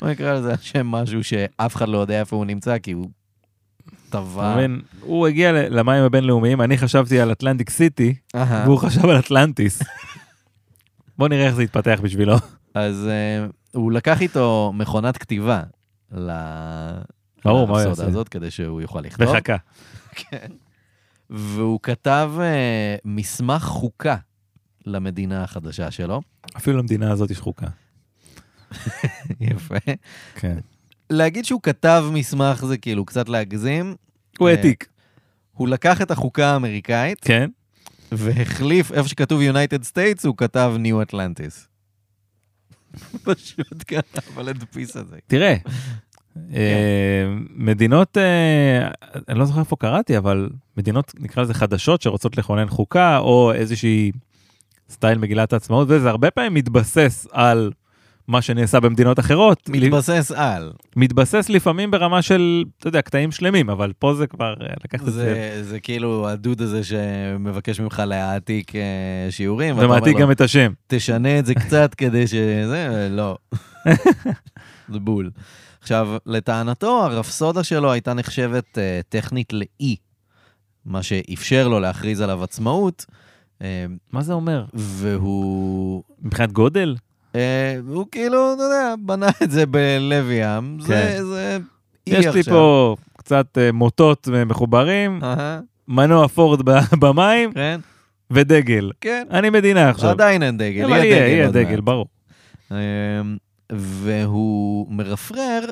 Speaker 2: בוא נקרא לזה על שם משהו שאף אחד לא יודע איפה הוא נמצא, כי הוא
Speaker 1: אתה
Speaker 2: טבע.
Speaker 1: מבין? הוא הגיע ל- למים הבינלאומיים, אני חשבתי על אטלנטיק סיטי,
Speaker 2: אהה.
Speaker 1: והוא חשב על אטלנטיס. בוא נראה איך זה יתפתח בשבילו.
Speaker 2: אז אה, הוא לקח איתו מכונת כתיבה ל-
Speaker 1: ברור, מה הוא יעשה?
Speaker 2: הזאת, כדי שהוא יוכל לכתוב.
Speaker 1: בחכה.
Speaker 2: והוא כתב אה, מסמך חוקה למדינה החדשה שלו.
Speaker 1: אפילו למדינה הזאת יש חוקה.
Speaker 2: יפה.
Speaker 1: כן.
Speaker 2: להגיד שהוא כתב מסמך זה כאילו קצת להגזים.
Speaker 1: הוא
Speaker 2: אה,
Speaker 1: העתיק.
Speaker 2: הוא לקח את החוקה האמריקאית
Speaker 1: כן?
Speaker 2: והחליף, איפה שכתוב United States, הוא כתב New Atlantis. <laughs> פשוט כתב על הדפיס הזה.
Speaker 1: <laughs> תראה, אה, מדינות, אה, אני לא זוכר איפה קראתי, אבל מדינות, נקרא לזה חדשות, שרוצות לכונן חוקה, או איזושהי סטייל מגילת העצמאות, וזה הרבה פעמים מתבסס על מה שנעשה במדינות אחרות.
Speaker 2: מתבסס על.
Speaker 1: מתבסס לפעמים ברמה של, אתה יודע, קטעים שלמים, אבל פה זה כבר אה, לקחת את זה.
Speaker 2: זה, זה כאילו הדוד הזה שמבקש ממך להעתיק אה, שיעורים, ואתה אומר
Speaker 1: ומעתיק
Speaker 2: לו,
Speaker 1: גם את השם. <laughs>
Speaker 2: תשנה את זה קצת כדי שזה, לא. זה בול. עכשיו, לטענתו, הרפסודה שלו הייתה נחשבת אה, טכנית לאי, מה שאפשר לו להכריז עליו עצמאות, אה,
Speaker 1: מה זה אומר?
Speaker 2: והוא...
Speaker 1: מבחינת גודל?
Speaker 2: אה, הוא כאילו, אתה יודע, בנה את זה בלב ים.
Speaker 1: כן.
Speaker 2: זה, זה אי
Speaker 1: יש
Speaker 2: עכשיו.
Speaker 1: לי פה קצת אה, מוטות אה, מחוברים,
Speaker 2: אהה,
Speaker 1: מנוע פורד ב- <laughs> במים
Speaker 2: כן,
Speaker 1: ודגל.
Speaker 2: כן.
Speaker 1: אני מדינה עכשיו.
Speaker 2: עדיין אין דגל,
Speaker 1: אבל יהיה, יהיה
Speaker 2: עוד מעט.
Speaker 1: דגל, ברור.
Speaker 2: אמ, והוא מרפרר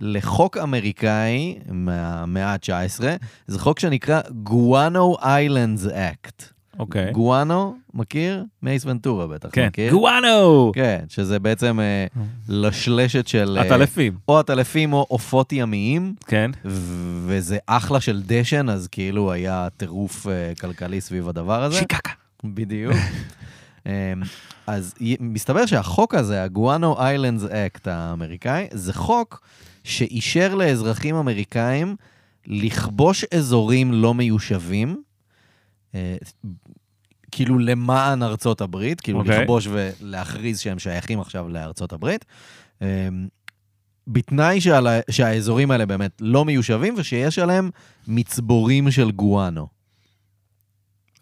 Speaker 2: לחוק אמריקאי מהמאה ה-19, זה חוק שנקרא Guano Islands Act.
Speaker 1: אוקיי.
Speaker 2: גואנו, מכיר? מייס ונטורה בטח,
Speaker 1: כן.
Speaker 2: מכיר?
Speaker 1: גואנו!
Speaker 2: כן, שזה בעצם אה, לשלשת של... אה,
Speaker 1: עטלפים,
Speaker 2: או עטלפים או עופות ימיים,
Speaker 1: כן.
Speaker 2: וזה אחלה של דשן, אז כאילו היה טירוף אה, כלכלי סביב הדבר הזה.
Speaker 1: שיקקה.
Speaker 2: בדיוק. אמ, אז י- מסתבר שהחוק הזה, הגואנו איילנדס אקט האמריקאי, זה חוק שאישר לאזרחים אמריקאים לכבוש אזורים לא מיושבים, אה, כאילו למען ארצות הברית, כאילו
Speaker 1: אוקיי.
Speaker 2: לכבוש ולהכריז שהם שייכים עכשיו לארצות הברית. אמ, בתנאי שעל ה- שהאזורים האלה באמת לא מיושבים ושיש עליהם מצבורים של גואנו.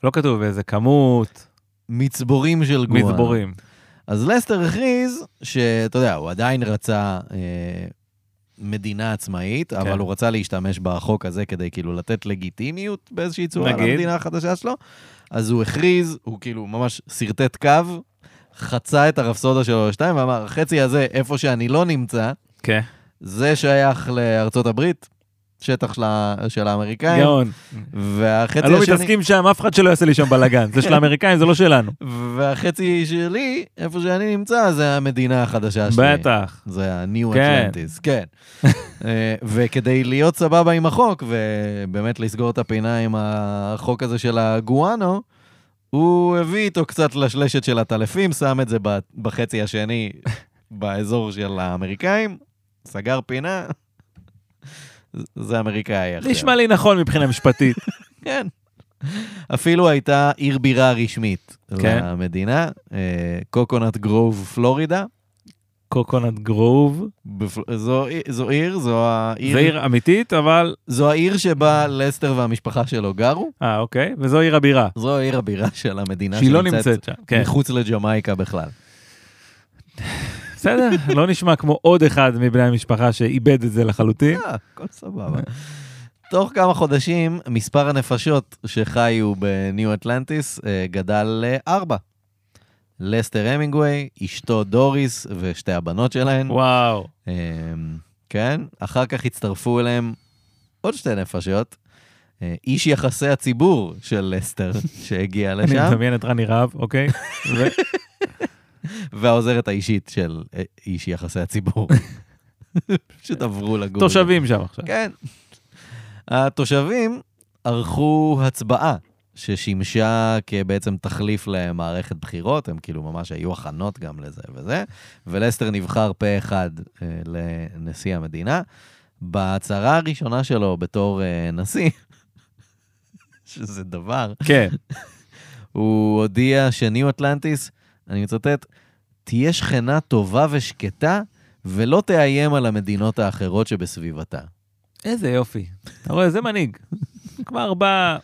Speaker 1: לא כתוב באיזה כמות,
Speaker 2: מצבורים של גואנו.
Speaker 1: מצבורים.
Speaker 2: אז לסטר הכריז שאתה יודע, הוא עדיין רצה אה, מדינה עצמאית, כן. אבל הוא רצה להשתמש בחוק הזה כדי כאילו לתת לגיטימיות באיזושהי צורה
Speaker 1: נגיד.
Speaker 2: למדינה החדשה שלו. אז הוא הכריז, הוא כאילו ממש שרטט קו, חצה את הרפסודה שלו לשתיים ואמר, החצי הזה, איפה שאני לא נמצא,
Speaker 1: כן.
Speaker 2: זה שייך לארצות הברית, שטח של, ה- של האמריקאים,
Speaker 1: גאון.
Speaker 2: והחצי
Speaker 1: אני לא
Speaker 2: כן. השני...
Speaker 1: מתעסקים שם, אף אחד שלא יעשה לי שם בלאגן. זה של האמריקאים, זה לא שלנו.
Speaker 2: והחצי שלי, איפה שאני נמצא, זה המדינה החדשה שלי.
Speaker 1: בטח.
Speaker 2: זה ה-New
Speaker 1: כן.
Speaker 2: Atlantis, כן. <laughs> אה, וכדי להיות סבבה עם החוק, ובאמת לסגור את הפינה עם החוק הזה של הגואנו, הוא הביא איתו קצת לשלשת של הטלפים, שם את זה ב-
Speaker 1: <laughs>
Speaker 2: בחצי השני באזור של האמריקאים, סגר פינה, זה אמריקאי עכשיו.
Speaker 1: נשמע לי נכון מבחינה
Speaker 2: <laughs>
Speaker 1: משפטית.
Speaker 2: כן. אפילו הייתה עיר בירה רשמית
Speaker 1: כן.
Speaker 2: למדינה, אה, קוקונט גרוב, פלורידה.
Speaker 1: קוקונט גרוב.
Speaker 2: בפל- זו, זו עיר, זו העיר,
Speaker 1: זה עיר אמיתית, אבל...
Speaker 2: זו העיר שבה לסטר והמשפחה שלו גרו,
Speaker 1: אה, אוקיי. וזו עיר הבירה.
Speaker 2: זו עיר הבירה של המדינה
Speaker 1: שהיא לא נמצאת שם. כן.
Speaker 2: מחוץ לג'מייקה בכלל.
Speaker 1: בסדר, לא נשמע כמו עוד אחד מבני המשפחה שאיבד את זה
Speaker 2: <laughs>
Speaker 1: לחלוטין.
Speaker 2: אה, הכל סבבה. תוך כמה חודשים, מספר הנפשות שחיו בניו אטלנטיס אה, גדל לארבע. לסטר המינגווי, אשתו דוריס ושתי הבנות שלהן.
Speaker 1: וואו.
Speaker 2: אמ, כן, אחר כך הצטרפו אליהם עוד שתי נפשות. אה, איש יחסי הציבור של
Speaker 1: <laughs>
Speaker 2: לסטר שהגיע
Speaker 1: אני
Speaker 2: לשם,
Speaker 1: מדמיין את רני רהב,
Speaker 2: <laughs>
Speaker 1: אוקיי? ו-
Speaker 2: והעוזרת האישית של אה, איש יחסי הציבור. פשוט עברו לגור.
Speaker 1: תושבים שם עכשיו.
Speaker 2: כן. התושבים ערכו הצבעה ששימשה כבעצם תחליף למערכת בחירות, הם כאילו ממש היו הכנות גם לזה וזה, ולסטר נבחר פה אחד אה, לנשיא המדינה. בהצהרה הראשונה שלו בתור אה, נשיא, <laughs> שזה דבר,
Speaker 1: כן.
Speaker 2: הוא הודיע שניו אטלנטיס, אני מצטט, תהיה שכנה טובה ושקטה ולא תאיים על המדינות האחרות שבסביבתה.
Speaker 1: איזה יופי. אתה רואה, זה מנהיג. כבר בא,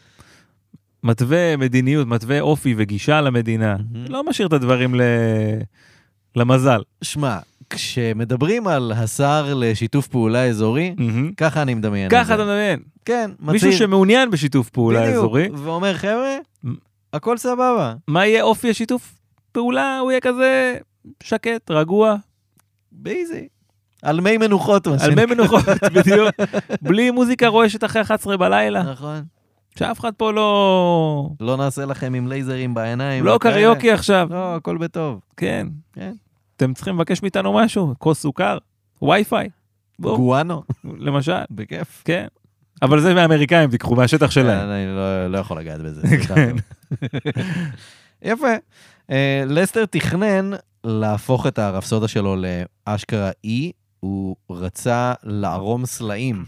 Speaker 1: מתווה מדיניות, מתווה אופי וגישה למדינה.
Speaker 2: מהמם.
Speaker 1: לא משאיר את הדברים ל... למזל.
Speaker 2: שמע, כשמדברים על השר לשיתוף פעולה אזורי, ככה אני מדמיין את זה.
Speaker 1: ככה אתה מדמיין.
Speaker 2: כן, מצהיר.
Speaker 1: מישהו שמעוניין בשיתוף פעולה
Speaker 2: בדיוק,
Speaker 1: אזורי,
Speaker 2: ואומר, חבר'ה,
Speaker 1: מ-
Speaker 2: הכל סבבה.
Speaker 1: מה יהיה אופי השיתוף פעולה? הוא יהיה כזה שקט, רגוע,
Speaker 2: באיזי. על מי מנוחות, מה
Speaker 1: על
Speaker 2: שנקרא.
Speaker 1: מי מנוחות, בדיוק. בלי מוזיקה רועשת אחרי 11 בלילה,
Speaker 2: נכון.
Speaker 1: שאף אחד פה לא...
Speaker 2: לא נעשה לכם עם לייזרים בעיניים.
Speaker 1: לא
Speaker 2: וכאלה.
Speaker 1: קריוקי עכשיו,
Speaker 2: לא, הכל בטוב.
Speaker 1: כן.
Speaker 2: כן.
Speaker 1: אתם צריכים לבקש מאיתנו משהו, כוס סוכר, וי-פיי. בואו,
Speaker 2: גואנו,
Speaker 1: למשל.
Speaker 2: בכיף.
Speaker 1: כן. אבל זה מהאמריקאים, תיקחו מהשטח שלהם. כן.
Speaker 2: אני לא- לא יכול לגעת בזה. סליחה. יפה. אה, לסטר תכנן להפוך את הרפסודה שלו לאשכרה אי, הוא רצה לערום סלעים,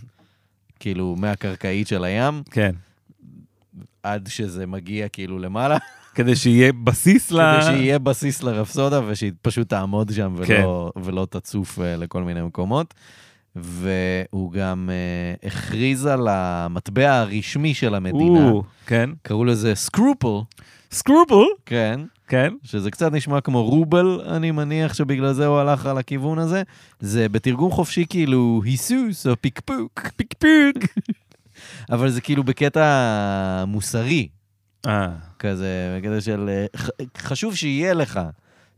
Speaker 2: כאילו, מהקרקעית של הים,
Speaker 1: כן.
Speaker 2: עד שזה מגיע כאילו למעלה,
Speaker 1: כדי שיהיה בסיס ל...
Speaker 2: כדי שיהיה בסיס לרפסודה ושהיא פשוט תעמוד שם
Speaker 1: כן.
Speaker 2: ולא, ולא תצוף אה, לכל מיני מקומות. והוא גם אה, הכריז על המטבע הרשמי של המדינה,
Speaker 1: או, כן.
Speaker 2: קראו לזה סקרופל,
Speaker 1: סקרופל.
Speaker 2: כן,
Speaker 1: כן.
Speaker 2: שזה קצת נשמע כמו רובל, אני מניח שבגלל זה הוא הלך על הכיוון הזה. זה בתרגום חופשי כאילו היסוס או פיקפוק,
Speaker 1: פיקפוק.
Speaker 2: <laughs> אבל זה כאילו בקטע מוסרי,
Speaker 1: אה.
Speaker 2: כזה, בקטע של אה, ח- חשוב שיהיה לך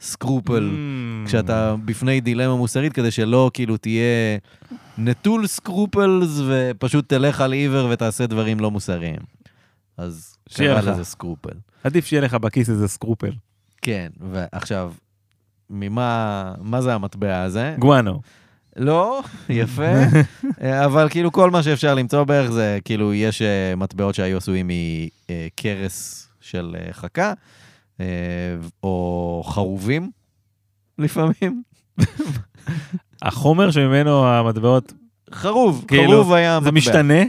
Speaker 2: סקרופל
Speaker 1: Mm.
Speaker 2: כשאתה בפני דילמה מוסרית, כדי שלא כאילו תהיה נטול סקרופלס ופשוט תלך על עיוור ותעשה דברים לא מוסריים. אז
Speaker 1: שיהיה
Speaker 2: קרא
Speaker 1: לך.
Speaker 2: לזה סקרופל.
Speaker 1: עדיף שיהיה לך בכיס איזה סקרופל.
Speaker 2: כן, ועכשיו, ממה, מה זה המטבע הזה?
Speaker 1: גואנו.
Speaker 2: לא, <laughs> יפה, אה, אבל כאילו כל מה שאפשר למצוא בערך זה, כאילו יש אה, מטבעות שהיו עשויים מקרס של אה, חכה, אה, או חרובים לפעמים.
Speaker 1: החומר שממנו המטבעות,
Speaker 2: חרוב,
Speaker 1: כאילו,
Speaker 2: חרוב היה המטבע.
Speaker 1: זה משתנה?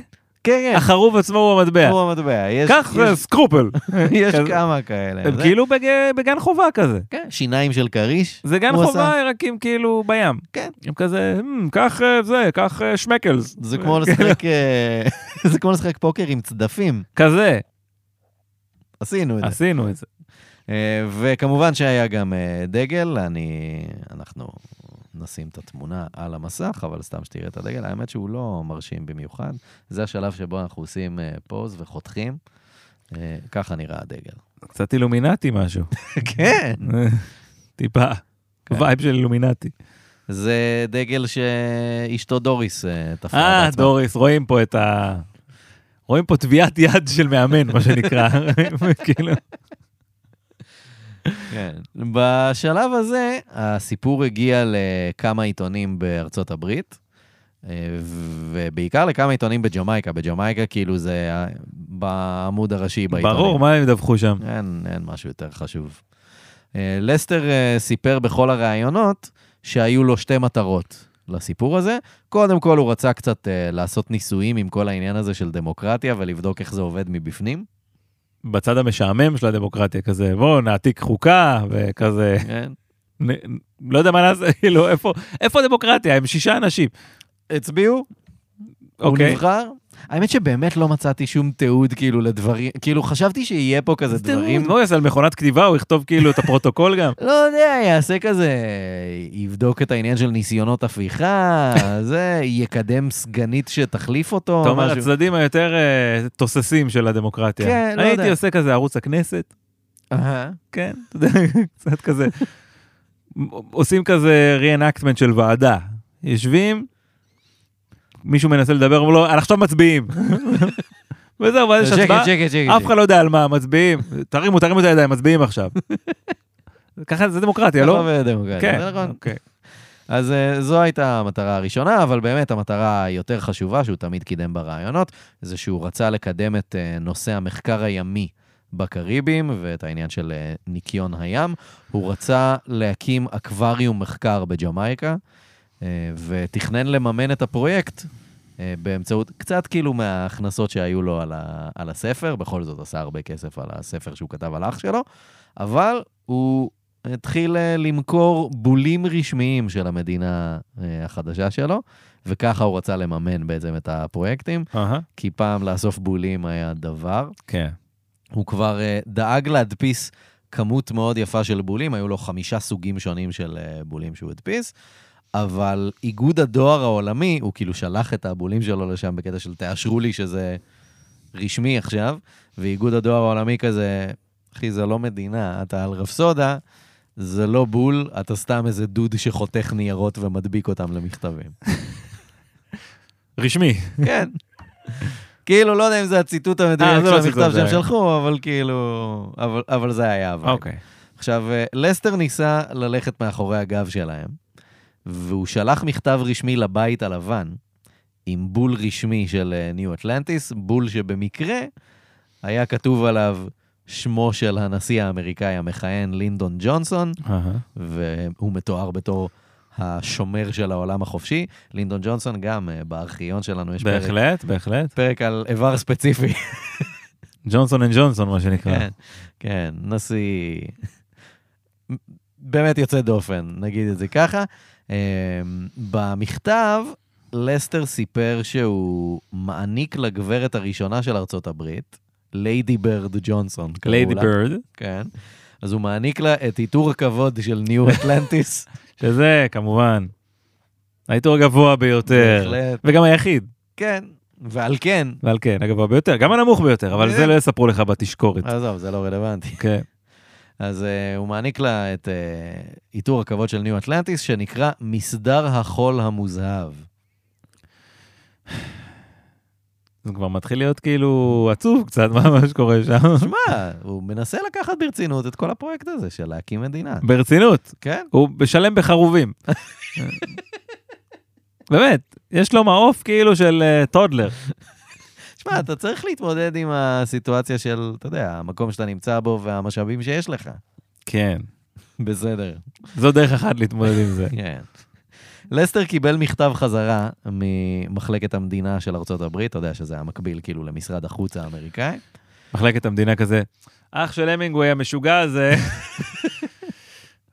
Speaker 2: כן, כן,
Speaker 1: החרוב עצמו הוא המטבע.
Speaker 2: הוא המטבע. יש-
Speaker 1: קח
Speaker 2: יש-
Speaker 1: זה סקרופל.
Speaker 2: <laughs> יש
Speaker 1: כזה.
Speaker 2: כמה כאלה.
Speaker 1: הם
Speaker 2: זה-
Speaker 1: כאילו בג- בגן חובה כזה.
Speaker 2: כן, שיניים של כריש.
Speaker 1: זה גן
Speaker 2: הוא
Speaker 1: חובה רק עם כאילו בים.
Speaker 2: כן.
Speaker 1: הם כזה, "מ, קח אה, זה, קח אה, שמקלס.
Speaker 2: זה כמו <laughs> לשחק, אה, זה כמו לשחק פוקר עם צדפים.
Speaker 1: כזה,
Speaker 2: עשינו את זה.
Speaker 1: עשינו את זה.
Speaker 2: אה, וכמובן שהיה גם אה, דגל, אני... אנחנו נשים את התמונה על המסך, אבל סתם שתראה את הדגל, האמת שהוא לא מרשים במיוחד. זה השלב שבו אנחנו עושים אה, פוז וחותכים. אה, ככה נראה הדגל.
Speaker 1: קצת אילומינטי משהו.
Speaker 2: כן.
Speaker 1: טיפה.
Speaker 2: כן.
Speaker 1: וייב של אילומינטי.
Speaker 2: זה דגל שאשתו דוריס אה, תפרה
Speaker 1: אה,
Speaker 2: בעצמה.
Speaker 1: דוריס, רואים פה את ה... רואים פה טביעת יד של מאמן, מה
Speaker 2: <laughs>
Speaker 1: שנקרא. כאילו,
Speaker 2: כן. בשלב הזה, הסיפור הגיע לכמה עיתונים בארצות הברית, אה, ובעיקר לכמה עיתונים בג'מייקה. בג'מייקה, כאילו, זה ה- בעמוד הראשי בעיתונים.
Speaker 1: ברור, מה הם ידווחו שם?
Speaker 2: אין, אין משהו יותר חשוב. אה, לסטר אה, סיפר בכל הראיונות שהיו לו שתי מטרות לסיפור הזה. קודם כל, הוא רצה קצת אה, לעשות ניסויים עם כל העניין הזה של דמוקרטיה ולבדוק איך זה עובד מבפנים.
Speaker 1: בצד המשעמם של הדמוקרטיה, כזה, בואו נעתיק חוקה, וכזה,
Speaker 2: כן.
Speaker 1: נ- לא יודע מה לעשות, <laughs> כאילו, איפה- איפה הדמוקרטיה? הם שישה אנשים.
Speaker 2: הצביעו, הוא
Speaker 1: אוקיי.
Speaker 2: נבחר. האמת שבאמת לא מצאתי שום תיעוד כאילו לדברים, כאילו חשבתי שיהיה פה כזה דברים.
Speaker 1: מה הוא יעשה על מכונת כתיבה? הוא יכתוב כאילו את הפרוטוקול
Speaker 2: <laughs>
Speaker 1: גם?
Speaker 2: לא יודע, יעשה כזה, יבדוק את העניין של ניסיונות הפיכה, <laughs> זה, יקדם סגנית שתחליף אותו,
Speaker 1: אתה אומר,
Speaker 2: משהו.
Speaker 1: הצדדים היותר אה, תוססים של הדמוקרטיה.
Speaker 2: כן, לא
Speaker 1: הייתי
Speaker 2: יודע.
Speaker 1: עושה כזה ערוץ הכנסת,
Speaker 2: אהה.
Speaker 1: כן, אתה יודע, <laughs> קצת כזה. עושים כזה re-enactment של ועדה. יושבים, מישהו מנסה לדבר, אומר לו, "על עכשיו מצביעים. <laughs> וזהו, ואז יש
Speaker 2: שקט,
Speaker 1: הצבעה,
Speaker 2: שקט, שקט.
Speaker 1: אף אחד לא יודע על מה, מצביעים. תרימו, תרימו את הידיים, מצביעים עכשיו. <laughs> ככה זה דמוקרטיה, לא?
Speaker 2: כן.
Speaker 1: כן,
Speaker 2: זה נכון.
Speaker 1: אוקיי.
Speaker 2: אז אה, זו הייתה המטרה הראשונה, אבל באמת המטרה היותר חשובה שהוא תמיד קידם ברעיונות, זה שהוא רצה לקדם את אה, נושא המחקר הימי בקריבים ואת העניין של אה, ניקיון הים. הוא רצה להקים אקווריום מחקר בג'מייקה, אה, ותכנן לממן את הפרויקט. אה, באמצעות, קצת כאילו מההכנסות שהיו לו על, ה, על הספר, בכל זאת עשה הרבה כסף על הספר שהוא כתב על אח שלו, אבל הוא התחיל אה, למכור בולים רשמיים של המדינה אה, החדשה שלו, וככה הוא רצה לממן בעצם את הפרויקטים,
Speaker 1: אהה,
Speaker 2: כי פעם לאסוף בולים היה דבר.
Speaker 1: כן.
Speaker 2: הוא כבר אה, דאג להדפיס כמות מאוד יפה של בולים, היו לו חמישה סוגים שונים של אה, בולים שהוא הדפיס, אבל איגוד הדואר העולמי, הוא כאילו שלח את הבולים שלו לשם בקטע של תאשרו לי שזה רשמי עכשיו, ואיגוד הדואר העולמי כזה, אחי, זה לא מדינה, אתה על רפסודה, זה לא בול, אתה סתם איזה דוד שחותך ניירות ומדביק אותם למכתבים.
Speaker 1: רשמי.
Speaker 2: כן. כאילו, לא יודע אם זה הציטוט
Speaker 1: אה,
Speaker 2: המדויק
Speaker 1: זה
Speaker 2: של
Speaker 1: לא הציטוט,
Speaker 2: המכתב
Speaker 1: זה
Speaker 2: שהם
Speaker 1: היה.
Speaker 2: שלחו, אבל כאילו... אבל- אבל זה היה הווייב.
Speaker 1: אוקיי.
Speaker 2: עכשיו, אה, לסטר ניסה ללכת מאחורי הגב שלהם, והוא שלח מכתב רשמי לבית הלבן, עם בול רשמי של אה, ניו אטלנטיס, בול שבמקרה היה כתוב עליו שמו של הנשיא האמריקאי המכהן לינדון ג'ונסון,
Speaker 1: אהה.
Speaker 2: והוא מתואר בתור השומר של העולם החופשי. לינדון ג'ונסון גם, אה, בארכיון שלנו יש פרק,
Speaker 1: בהחלט, בהחלט.
Speaker 2: פרק על איבר ספציפי.
Speaker 1: ג'ונסון אנד ג'ונסון, מה שנקרא.
Speaker 2: כן, כן, נשיא... באמת יוצא דופן, נגיד את זה ככה. אמ, במכתב, לסטר סיפר שהוא מעניק לגברת הראשונה של ארצות הברית, ליידי ברד ג'ונסון, קראו לה.
Speaker 1: ליידי בירד,
Speaker 2: כן. אז הוא מעניק לה את עיטור הכבוד של ניו אטלנטיס.
Speaker 1: שזה כמובן העיטור הגבוה ביותר,
Speaker 2: בהחלט.
Speaker 1: וגם היחיד,
Speaker 2: כן, ועל כן,
Speaker 1: ועל כן, הגבוה ביותר, גם הנמוך ביותר, אבל זה לא יספרו לך בתשקורת.
Speaker 2: עזוב, זה לא רלוונטי.
Speaker 1: כן.
Speaker 2: אז uh, הוא מעניק לה את אה, עיטור הכבוד של ניו אטלנטיס, שנקרא מסדר החול המוזהב.
Speaker 1: זה כבר מתחיל להיות כאילו עצוב קצת, מה מה שקורה שם.
Speaker 2: שמע, הוא מנסה לקחת ברצינות את כל הפרויקט הזה של להקים מדינה.
Speaker 1: ברצינות,
Speaker 2: כן,
Speaker 1: הוא משלם בחרובים. באמת, יש לו מעוף כאילו של אה, טודלר.
Speaker 2: שמע, אתה צריך להתמודד עם הסיטואציה של, אתה יודע, המקום שאתה נמצא בו והמשאבים שיש לך.
Speaker 1: כן.
Speaker 2: בסדר.
Speaker 1: זו דרך אחת להתמודד עם זה.
Speaker 2: כן. לסטר קיבל מכתב חזרה ממחלקת המדינה של ארצות הברית, אתה יודע שזה המקביל כאילו למשרד החוץ האמריקאי.
Speaker 1: מחלקת המדינה כזה, אח של המינגווי המשוגע הזה,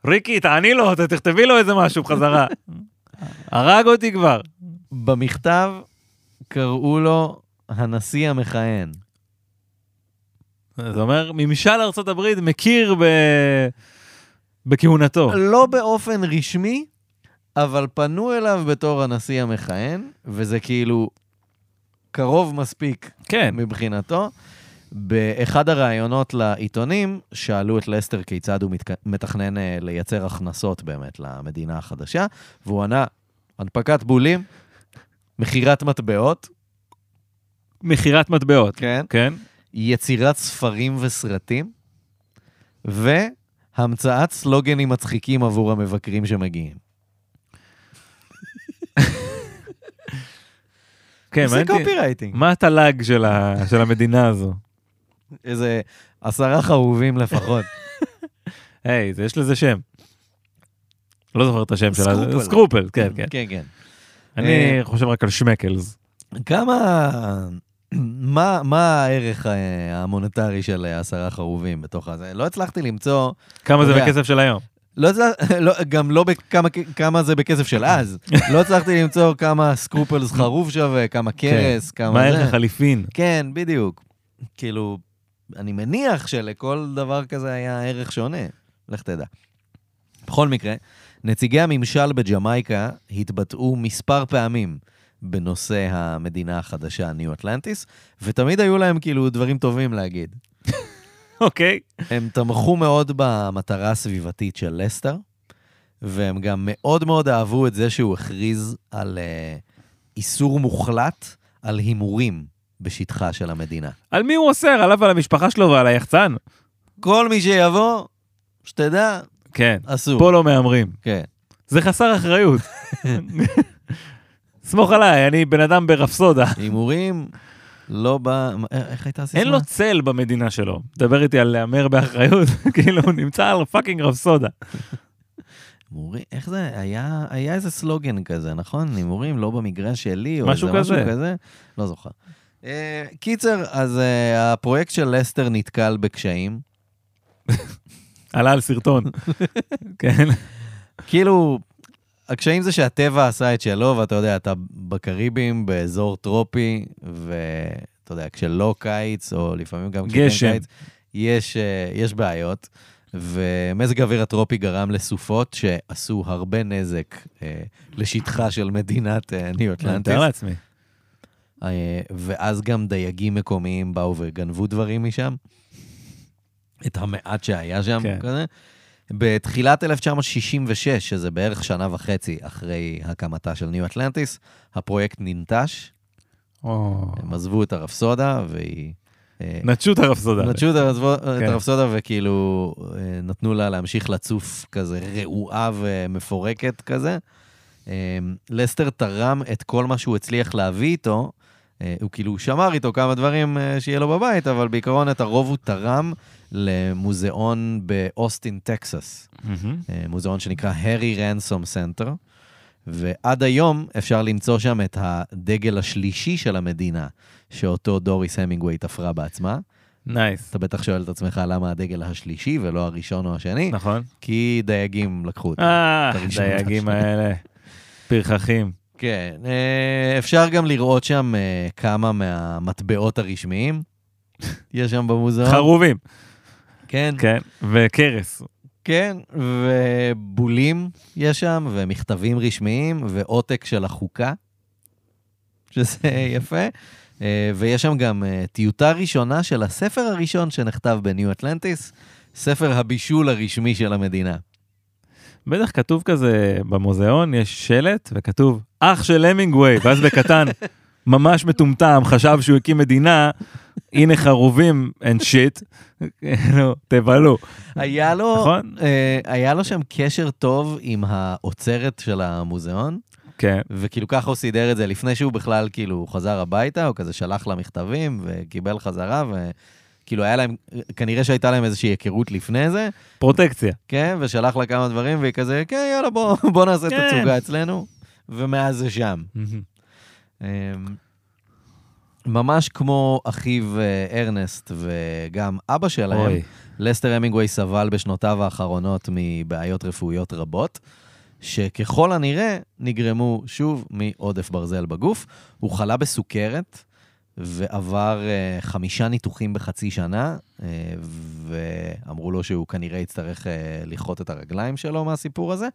Speaker 1: ריקי, תעני לו, ת- תכתבי לו איזה משהו בחזרה. הרג אותי כבר.
Speaker 2: במכתב קראו לו הנשיא המכהן.
Speaker 1: זה אומר, ממשל ארצות הברית מכיר ב... בכהונתו.
Speaker 2: לא באופן רשמי, אבל פנו אליו בתור הנשיא המכהן, וזה כאילו קרוב מספיק
Speaker 1: כן,
Speaker 2: מבחינתו. באחד הראיונות לעיתונים, שאלו את לסטר כיצד הוא מתק... מתכנן אה, לייצר הכנסות באמת למדינה החדשה, והוא ענה, הנפקת בולים, מכירת מטבעות,
Speaker 1: מכירת מטבעות.
Speaker 2: כן.
Speaker 1: כן,
Speaker 2: יצירת ספרים וסרטים, והמצאת סלוגנים מצחיקים עבור המבקרים שמגיעים.
Speaker 1: כן,
Speaker 2: זה
Speaker 1: מעניין אותי-
Speaker 2: קופירייטינג.
Speaker 1: מה התל"ג של ה- של המדינה הזו?
Speaker 2: איזה עשרה חרובים לפחות.
Speaker 1: היי, זה- יש לזה שם. לא זוכר את השם שלה, זה-
Speaker 2: סקרופל.
Speaker 1: סקרופל, <laughs> כן, כן.
Speaker 2: כן, אה. כן.
Speaker 1: אני חושב רק על שמקלס.
Speaker 2: כמה... מה, מה הערך אה, המוניטרי של אה, עשרה חרובים בתוך הזה? לא הצלחתי למצוא,
Speaker 1: כמה זה
Speaker 2: אתה יודע.
Speaker 1: בכסף של היום?
Speaker 2: לא הצלח, <laughs> לא, גם לא בכמה, כמה זה בכסף של אז. לא הצלחתי למצוא כמה סקרופלס חרוב שווה, כמה קרס, כמה זה.
Speaker 1: כן. מה הערך החליפין?
Speaker 2: כן, בדיוק. כאילו, אני מניח שלכל דבר כזה היה ערך שונה. לך תדע. בכל מקרה, נציגי הממשל בג'מייקה התבטאו מספר פעמים בנושא המדינה החדשה, ניו אטלנטיס, ותמיד היו להם כאילו דברים טובים להגיד.
Speaker 1: אוקיי.
Speaker 2: הם תמכו מאוד במטרה הסביבתית של לסטר, והם גם מאוד מאוד אהבו את זה שהוא הכריז על אה, איסור מוחלט על הימורים בשטחה של המדינה.
Speaker 1: על מי הוא אוסר? עליו ועל המשפחה שלו ועל היחצן?
Speaker 2: כל מי שיבוא, שתדע,
Speaker 1: כן.
Speaker 2: אסור.
Speaker 1: פה לא מהמרים.
Speaker 2: כן.
Speaker 1: זה חסר אחריות. סמוך עליי, אני בן אדם ברפסודה.
Speaker 2: הימורים, לא בא... מה- איך הייתה הסיסמה?
Speaker 1: אין לו צל במדינה שלו. דבר איתי על להמר באחריות, <laughs> כאילו, הוא נמצא על פאקינג רפסודה.
Speaker 2: הימורים, איך זה? היה, היה איזה סלוגן כזה, נכון? הימורים לא במגרש שלי, או
Speaker 1: משהו
Speaker 2: איזה משהו
Speaker 1: כזה.
Speaker 2: כזה? לא זוכר. Uh, קיצר, אז uh, הפרויקט של לסטר נתקל בקשיים.
Speaker 1: עלה על <laughs> סרטון. כן.
Speaker 2: כאילו, הקשיים זה שהטבע עשה את שלו, ואתה יודע, אתה בקריבים, באזור טרופי, ואתה יודע, כשלא קיץ, או לפעמים גם כשכן
Speaker 1: גשם.
Speaker 2: קיץ, יש, אה, יש בעיות. ומזג האוויר הטרופי גרם לסופות שעשו הרבה נזק אה, לשטחה של מדינת אה, ניו
Speaker 1: כן, אני
Speaker 2: אטלנטיס.
Speaker 1: מתאר לעצמי.
Speaker 2: אה, ואז גם דייגים מקומיים באו וגנבו דברים משם, את המעט שהיה שם
Speaker 1: כן.
Speaker 2: כן. כזה. בתחילת 1966, שזה בערך שנה וחצי אחרי הקמתה של ניו אטלנטיס, הפרויקט ננטש, הם עזבו את הרפסודה והיא... אה,
Speaker 1: נטשו את הרפסודה.
Speaker 2: נטשו את הרזבו-
Speaker 1: כן.
Speaker 2: את הרפסודה וכאילו אה, נתנו לה להמשיך לצוף כזה רעועה אמ, ומפורקת כזה. אה, לסטר תרם את כל מה שהוא הצליח להביא איתו אה, הוא כאילו שמר איתו כמה דברים אה, שיהיה לו בבית, אבל בעיקרון את הרוב הוא תרם למוזיאון באוסטין, טקסס.
Speaker 1: מהמם.
Speaker 2: אה, מוזיאון שנקרא הרי רנסום סנטר, ועד היום אפשר למצוא שם את הדגל השלישי של המדינה, שאותו דוריס המינגווי תפרה בעצמה.
Speaker 1: נייס.
Speaker 2: אתה בטח שואל את עצמך למה הדגל השלישי ולא הראשון או השני,
Speaker 1: נכון?
Speaker 2: כי דייגים לקחו אותו.
Speaker 1: אה,
Speaker 2: הראשון
Speaker 1: דייגים
Speaker 2: והשני.
Speaker 1: האלה. פרחחים.
Speaker 2: כן, אה, אפשר גם לראות שם אה, כמה מהמטבעות הרשמיים. <laughs> יש שם במוזיאון.
Speaker 1: חרובים.
Speaker 2: כן,
Speaker 1: כן. וכרס.
Speaker 2: כן, ובולים יש שם, ומכתבים רשמיים, ועותק של החוקה,
Speaker 1: <laughs>
Speaker 2: שזה יפה. אה, ויש שם גם אה, טיוטה ראשונה של הספר הראשון שנכתב בניו אטלנטיס, ספר הבישול הרשמי של המדינה.
Speaker 1: בטח כתוב כזה במוזיאון, יש שלט וכתוב, אח של המינגווי, ואז בקטן, <laughs> ממש מטומטם, חשב שהוא הקים מדינה, הנה חרובים and shit, כאילו, תבלו,
Speaker 2: היה לו,
Speaker 1: נכון?
Speaker 2: אה, היה לו שם קשר טוב עם האוצרת של המוזיאון,
Speaker 1: כן.
Speaker 2: וכאילו ככה הוא סידר את זה לפני שהוא בכלל כאילו חזר הביתה, הוא כזה שלח לה מכתבים וקיבל חזרה, וכאילו היה להם, כנראה שהייתה להם איזושהי היכרות לפני זה,
Speaker 1: פרוטקציה.
Speaker 2: כן, ושלח לה כמה דברים, והיא כזה, כן, יאללה, בוא, <laughs> בוא נעשה
Speaker 1: כן.
Speaker 2: כן. תצוגה אצלנו, ומאז זה שם.
Speaker 1: Mm-hmm.
Speaker 2: אמ, ממש כמו אחיו אה, ארנסט וגם אבא שלהם,
Speaker 1: אוי.
Speaker 2: לסטר המינגווי סבל בשנותיו האחרונות מבעיות רפואיות רבות, שככל הנראה נגרמו שוב מעודף ברזל בגוף. הוא חלה בסוכרת ועבר אה, חמישה ניתוחים בחצי שנה, אה, ואמרו לו שהוא כנראה יצטרך אה, לכרות את הרגליים שלו מהסיפור הזה,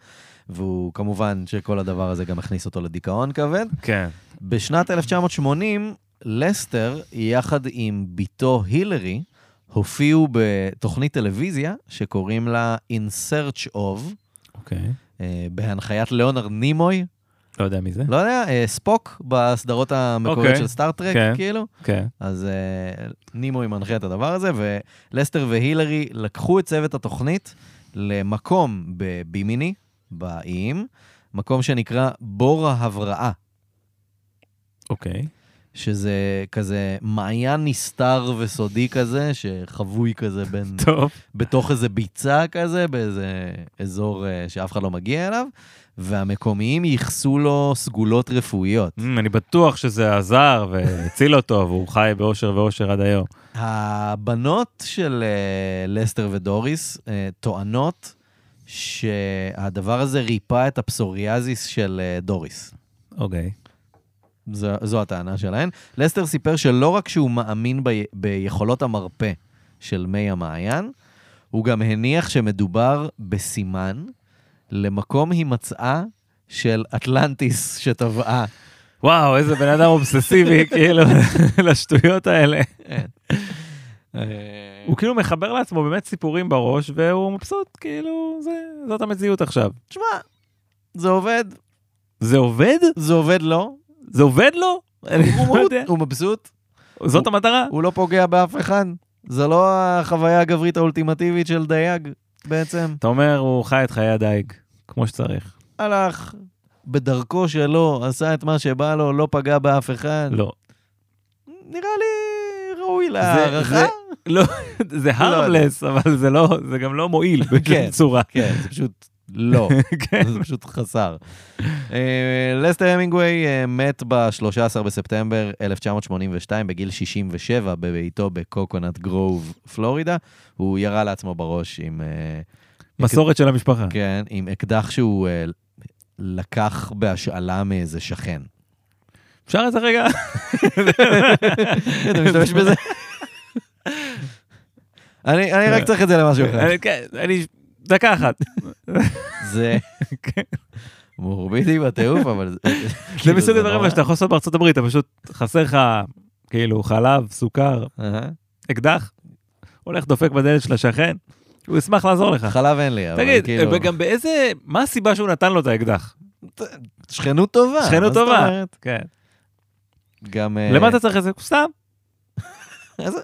Speaker 2: והוא כמובן שכל הדבר הזה גם הכניס אותו לדיכאון כבד.
Speaker 1: כן.
Speaker 2: בשנת 1980, לסטר, יחד עם בתו הילרי, הופיעו בתוכנית טלוויזיה שקוראים לה In Search of,
Speaker 1: אוקיי.
Speaker 2: אה, בהנחיית ליאונרד נימוי,
Speaker 1: לא יודע מי זה.
Speaker 2: לא יודע, אה, ספוק בסדרות המקוריות
Speaker 1: אוקיי,
Speaker 2: של סטארט-טרק,
Speaker 1: כן.
Speaker 2: כאילו.
Speaker 1: כן.
Speaker 2: אז אה, נימוי מנחה את הדבר הזה, ולסטר והילרי לקחו את צוות התוכנית למקום בבימיני, באיים, מקום שנקרא בור ההבראה.
Speaker 1: אוקיי.
Speaker 2: שזה כזה מעיין נסתר וסודי כזה, שחבוי כזה
Speaker 1: <laughs>
Speaker 2: בין,
Speaker 1: טוב.
Speaker 2: בתוך איזה ביצה כזה, באיזה אזור אה, שאף אחד לא מגיע אליו, והמקומיים ייחסו לו סגולות רפואיות.
Speaker 1: אמ, אני בטוח שזה עזר והציל אותו, והוא חי באושר ואושר עד היום.
Speaker 2: הבנות של אה, לסטר ודוריס אה, טוענות שהדבר הזה ריפא את הפסוריאזיס של אה, דוריס.
Speaker 1: אוקיי.
Speaker 2: זו, זו הטענה שלהן. לסטר סיפר שלא רק שהוא מאמין ב, ביכולות המרפא של מי המעיין, הוא גם הניח שמדובר בסימן למקום הימצאה של אטלנטיס שטבעה.
Speaker 1: וואו, איזה בן אדם
Speaker 2: <laughs>
Speaker 1: אובססיבי, כאילו, <laughs> לשטויות האלה.
Speaker 2: כן. אה,
Speaker 1: הוא כאילו מחבר לעצמו באמת סיפורים בראש, והוא מבסוט, כאילו, זה- זאת המציאות עכשיו.
Speaker 2: תשמע, זה עובד,
Speaker 1: זה עובד?
Speaker 2: זה עובד לו,
Speaker 1: זה עובד לו? אני לא
Speaker 2: הוא,
Speaker 1: יודע.
Speaker 2: הוא מבסוט,
Speaker 1: זאת המטרה?
Speaker 2: הוא לא פוגע באף אחד. זה לא החוויה הגברית האולטימטיבית של דייג בעצם.
Speaker 1: אתה אומר, הוא חי את חיי הדייג, כמו שצריך.
Speaker 2: הלך בדרכו שלו, עשה את מה שבא לו, לא פגע באף אחד.
Speaker 1: לא.
Speaker 2: נראה לי ראוי להערכה.
Speaker 1: זה- לא, <laughs> זה הרמלס, אבל זה לא, זה גם לא מועיל בשום
Speaker 2: <laughs> כן.
Speaker 1: צורה. <laughs>
Speaker 2: כן, זה פשוט <laughs> לא,
Speaker 1: כן.
Speaker 2: זה פשוט חסר. אה, לסטר המינגווי אה, מת ב-13 בספטמבר 1982 בגיל 67 בביתו בקוקונט גרוב, פלורידה. הוא ירה לעצמו בראש עם... אה,
Speaker 1: מסורת של המשפחה.
Speaker 2: כן, עם אקדח שהוא אה, לקח בהשאלה מאיזה שכן.
Speaker 1: אפשר איזה רגע?
Speaker 2: אתה משתמש בזה? <laughs> אני אני רק צריך את זה למשהו אחר.
Speaker 1: אני- <laughs> כן, אני... דקה אחת.
Speaker 2: זה
Speaker 1: כן.
Speaker 2: מורבידי בטירוף, אבל... זה-
Speaker 1: זה
Speaker 2: כאילו,
Speaker 1: מסוג הדברים
Speaker 2: נורא.
Speaker 1: האלה שאתה יכול לעשות בארצות הברית, אתה פשוט חסר לך, כאילו, חלב, סוכר,
Speaker 2: אהה.
Speaker 1: אקדח, הולך דופק בדלת של השכן, הוא ישמח לעזור לך.
Speaker 2: חלב אין לי, אבל
Speaker 1: אה. תגיד,
Speaker 2: כאילו...
Speaker 1: גם באיזה, מה הסיבה שהוא נתן לו את האקדח?
Speaker 2: שכנות טובה.
Speaker 1: שכנות
Speaker 2: מה זאת
Speaker 1: טובה.
Speaker 2: אומרת?
Speaker 1: כן.
Speaker 2: גם... אה,
Speaker 1: למה אתה צריך את זה? סתם.
Speaker 2: אז-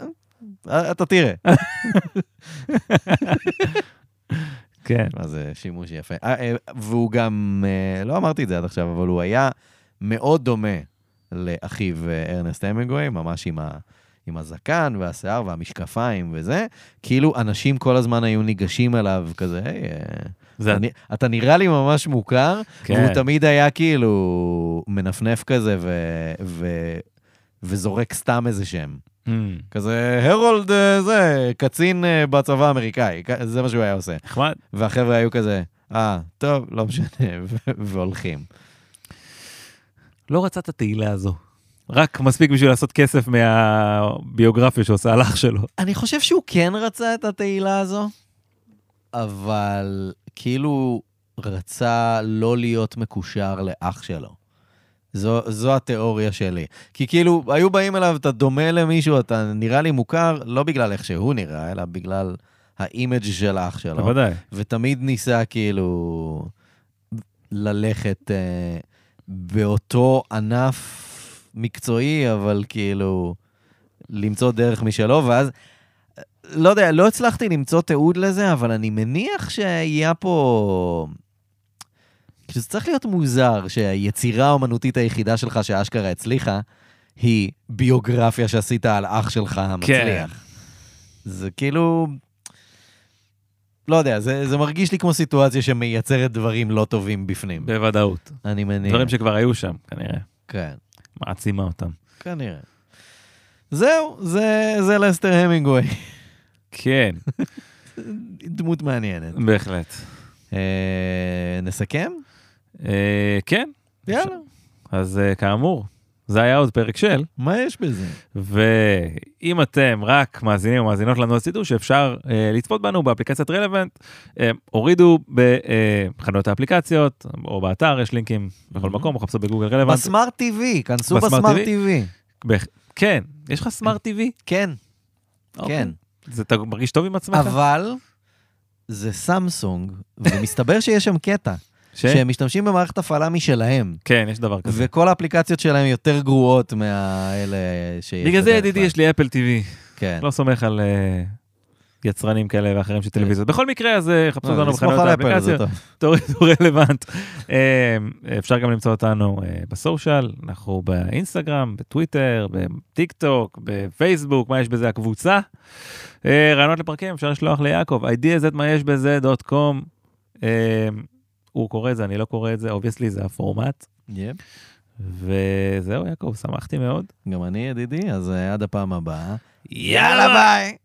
Speaker 2: אה, אתה תראה.
Speaker 1: כן.
Speaker 2: מה זה שימוש יפה. אה, אה, והוא גם, אה, לא אמרתי את זה עד עכשיו, אבל הוא היה מאוד דומה לאחיו אה, ארנסט המינגווי, ממש עם, ה, עם הזקן והשיער והמשקפיים וזה, כאילו אנשים כל הזמן היו ניגשים אליו כזה, היי, אה,
Speaker 1: זה-
Speaker 2: אתה נ- אתה נראה לי ממש מוכר,
Speaker 1: כן.
Speaker 2: והוא תמיד היה כאילו מנפנף כזה ו- ו- וזורק סתם איזה שם.
Speaker 1: Mm.
Speaker 2: כזה, הרולד אה, זה, כקצין אה, בצבא האמריקאי, כ- זה מה שהוא היה עושה.
Speaker 1: נחמד.
Speaker 2: והחבר'ה היו כזה, אה, טוב, לא משנה, <laughs> ו- והולכים.
Speaker 1: לא רצה את התהילה הזו. רק מספיק בשביל לעשות כסף מהביוגרפיה שעושה על אח שלו.
Speaker 2: אני חושב שהוא כן רצה את התהילה הזו, אבל כאילו רצה לא להיות מקושר לאח שלו. זו, זו התיאוריה שלי. כי כאילו, היו באים אליו, אתה דומה למישהו, אתה נראה לי מוכר, לא בגלל איך שהוא נראה, אלא בגלל האימג' של האח שלו.
Speaker 1: בוודאי.
Speaker 2: ותמיד ניסה כאילו ללכת אה, באותו ענף מקצועי, אבל כאילו למצוא דרך משלו, ואז, אה, לא יודע, לא הצלחתי למצוא תיעוד לזה, אבל אני מניח שהיה פה... כאילו, זה צריך להיות מוזר שהיצירה האומנותית היחידה שלך שאשכרה הצליחה, היא ביוגרפיה שעשית על אח שלך המצליח. כן. זה כאילו, לא יודע, זה, זה מרגיש לי כמו סיטואציה שמייצרת דברים לא טובים בפנים.
Speaker 1: בוודאות.
Speaker 2: אני מניח.
Speaker 1: דברים שכבר היו שם, כנראה.
Speaker 2: כן,
Speaker 1: מעצימה אותם.
Speaker 2: כנראה. זהו, זה, זה לסטר המינגווי. <laughs>
Speaker 1: כן,
Speaker 2: דמות מעניינת.
Speaker 1: בהחלט.
Speaker 2: אה, נסכם?
Speaker 1: אה, כן,
Speaker 2: יאללה.
Speaker 1: אז אה, כאמור, זה היה עוד פרק של,
Speaker 2: מה יש בזה?
Speaker 1: ואם אתם רק מאזינים או מאזינות לנו, אז תדעו שאפשר אה, לצפות בנו באפליקציית רלוונט. אה, הורידו אה, בחנויות האפליקציות, או באתר, יש לינקים בכל
Speaker 2: Mhm.
Speaker 1: מקום, או חפשו בגוגל רלוונט.
Speaker 2: בסמארט TV, כנסו
Speaker 1: בסמארט
Speaker 2: בסמארט
Speaker 1: TV?
Speaker 2: TV.
Speaker 1: בהח- כן, יש לך סמארט TV?
Speaker 2: כן,
Speaker 1: אוקיי.
Speaker 2: כן.
Speaker 1: זה, אתה מרגיש טוב אוקיי. עם עצמך?
Speaker 2: אבל זה סמסונג, ומסתבר <laughs> שיש שם קטע,
Speaker 1: ש-
Speaker 2: שהם משתמשים במערכת הפעלה משלהם.
Speaker 1: כן, יש דבר כזה.
Speaker 2: וכל האפליקציות שלהם יותר גרועות מהאלה שיש.
Speaker 1: בגלל זה,
Speaker 2: בדרך
Speaker 1: ידידי,
Speaker 2: כלל.
Speaker 1: יש לי אפל TV.
Speaker 2: כן.
Speaker 1: לא סומך על אה, יצרנים כאלה ואחרים של טלוויזיות. בכל מקרה, אז אה, חפשו
Speaker 2: לא,
Speaker 1: אותנו
Speaker 2: לסמוך
Speaker 1: בחנויות
Speaker 2: על אפל זה
Speaker 1: האפליקציות. <laughs>
Speaker 2: טוב.
Speaker 1: תורידו רלוונט. אה, אפשר גם למצוא אותנו אה, בסושיאל, אנחנו באינסטגרם, בטוויטר, בטיק טוק, בפייסבוק, מה יש בזה? הקבוצה. אה, רעיונות לפרקים אפשר לשלוח ליעקב, ideas את מה יש בזה דוט קום. אמ, הוא קורא את זה, אני לא קורא את זה, אובייסלי זה הפורמט.
Speaker 2: יפ.
Speaker 1: וזהו, יעקב, שמחתי מאוד.
Speaker 2: גם אני ידידי, אז אה, עד הפעם הבאה.
Speaker 1: יאללה ביי!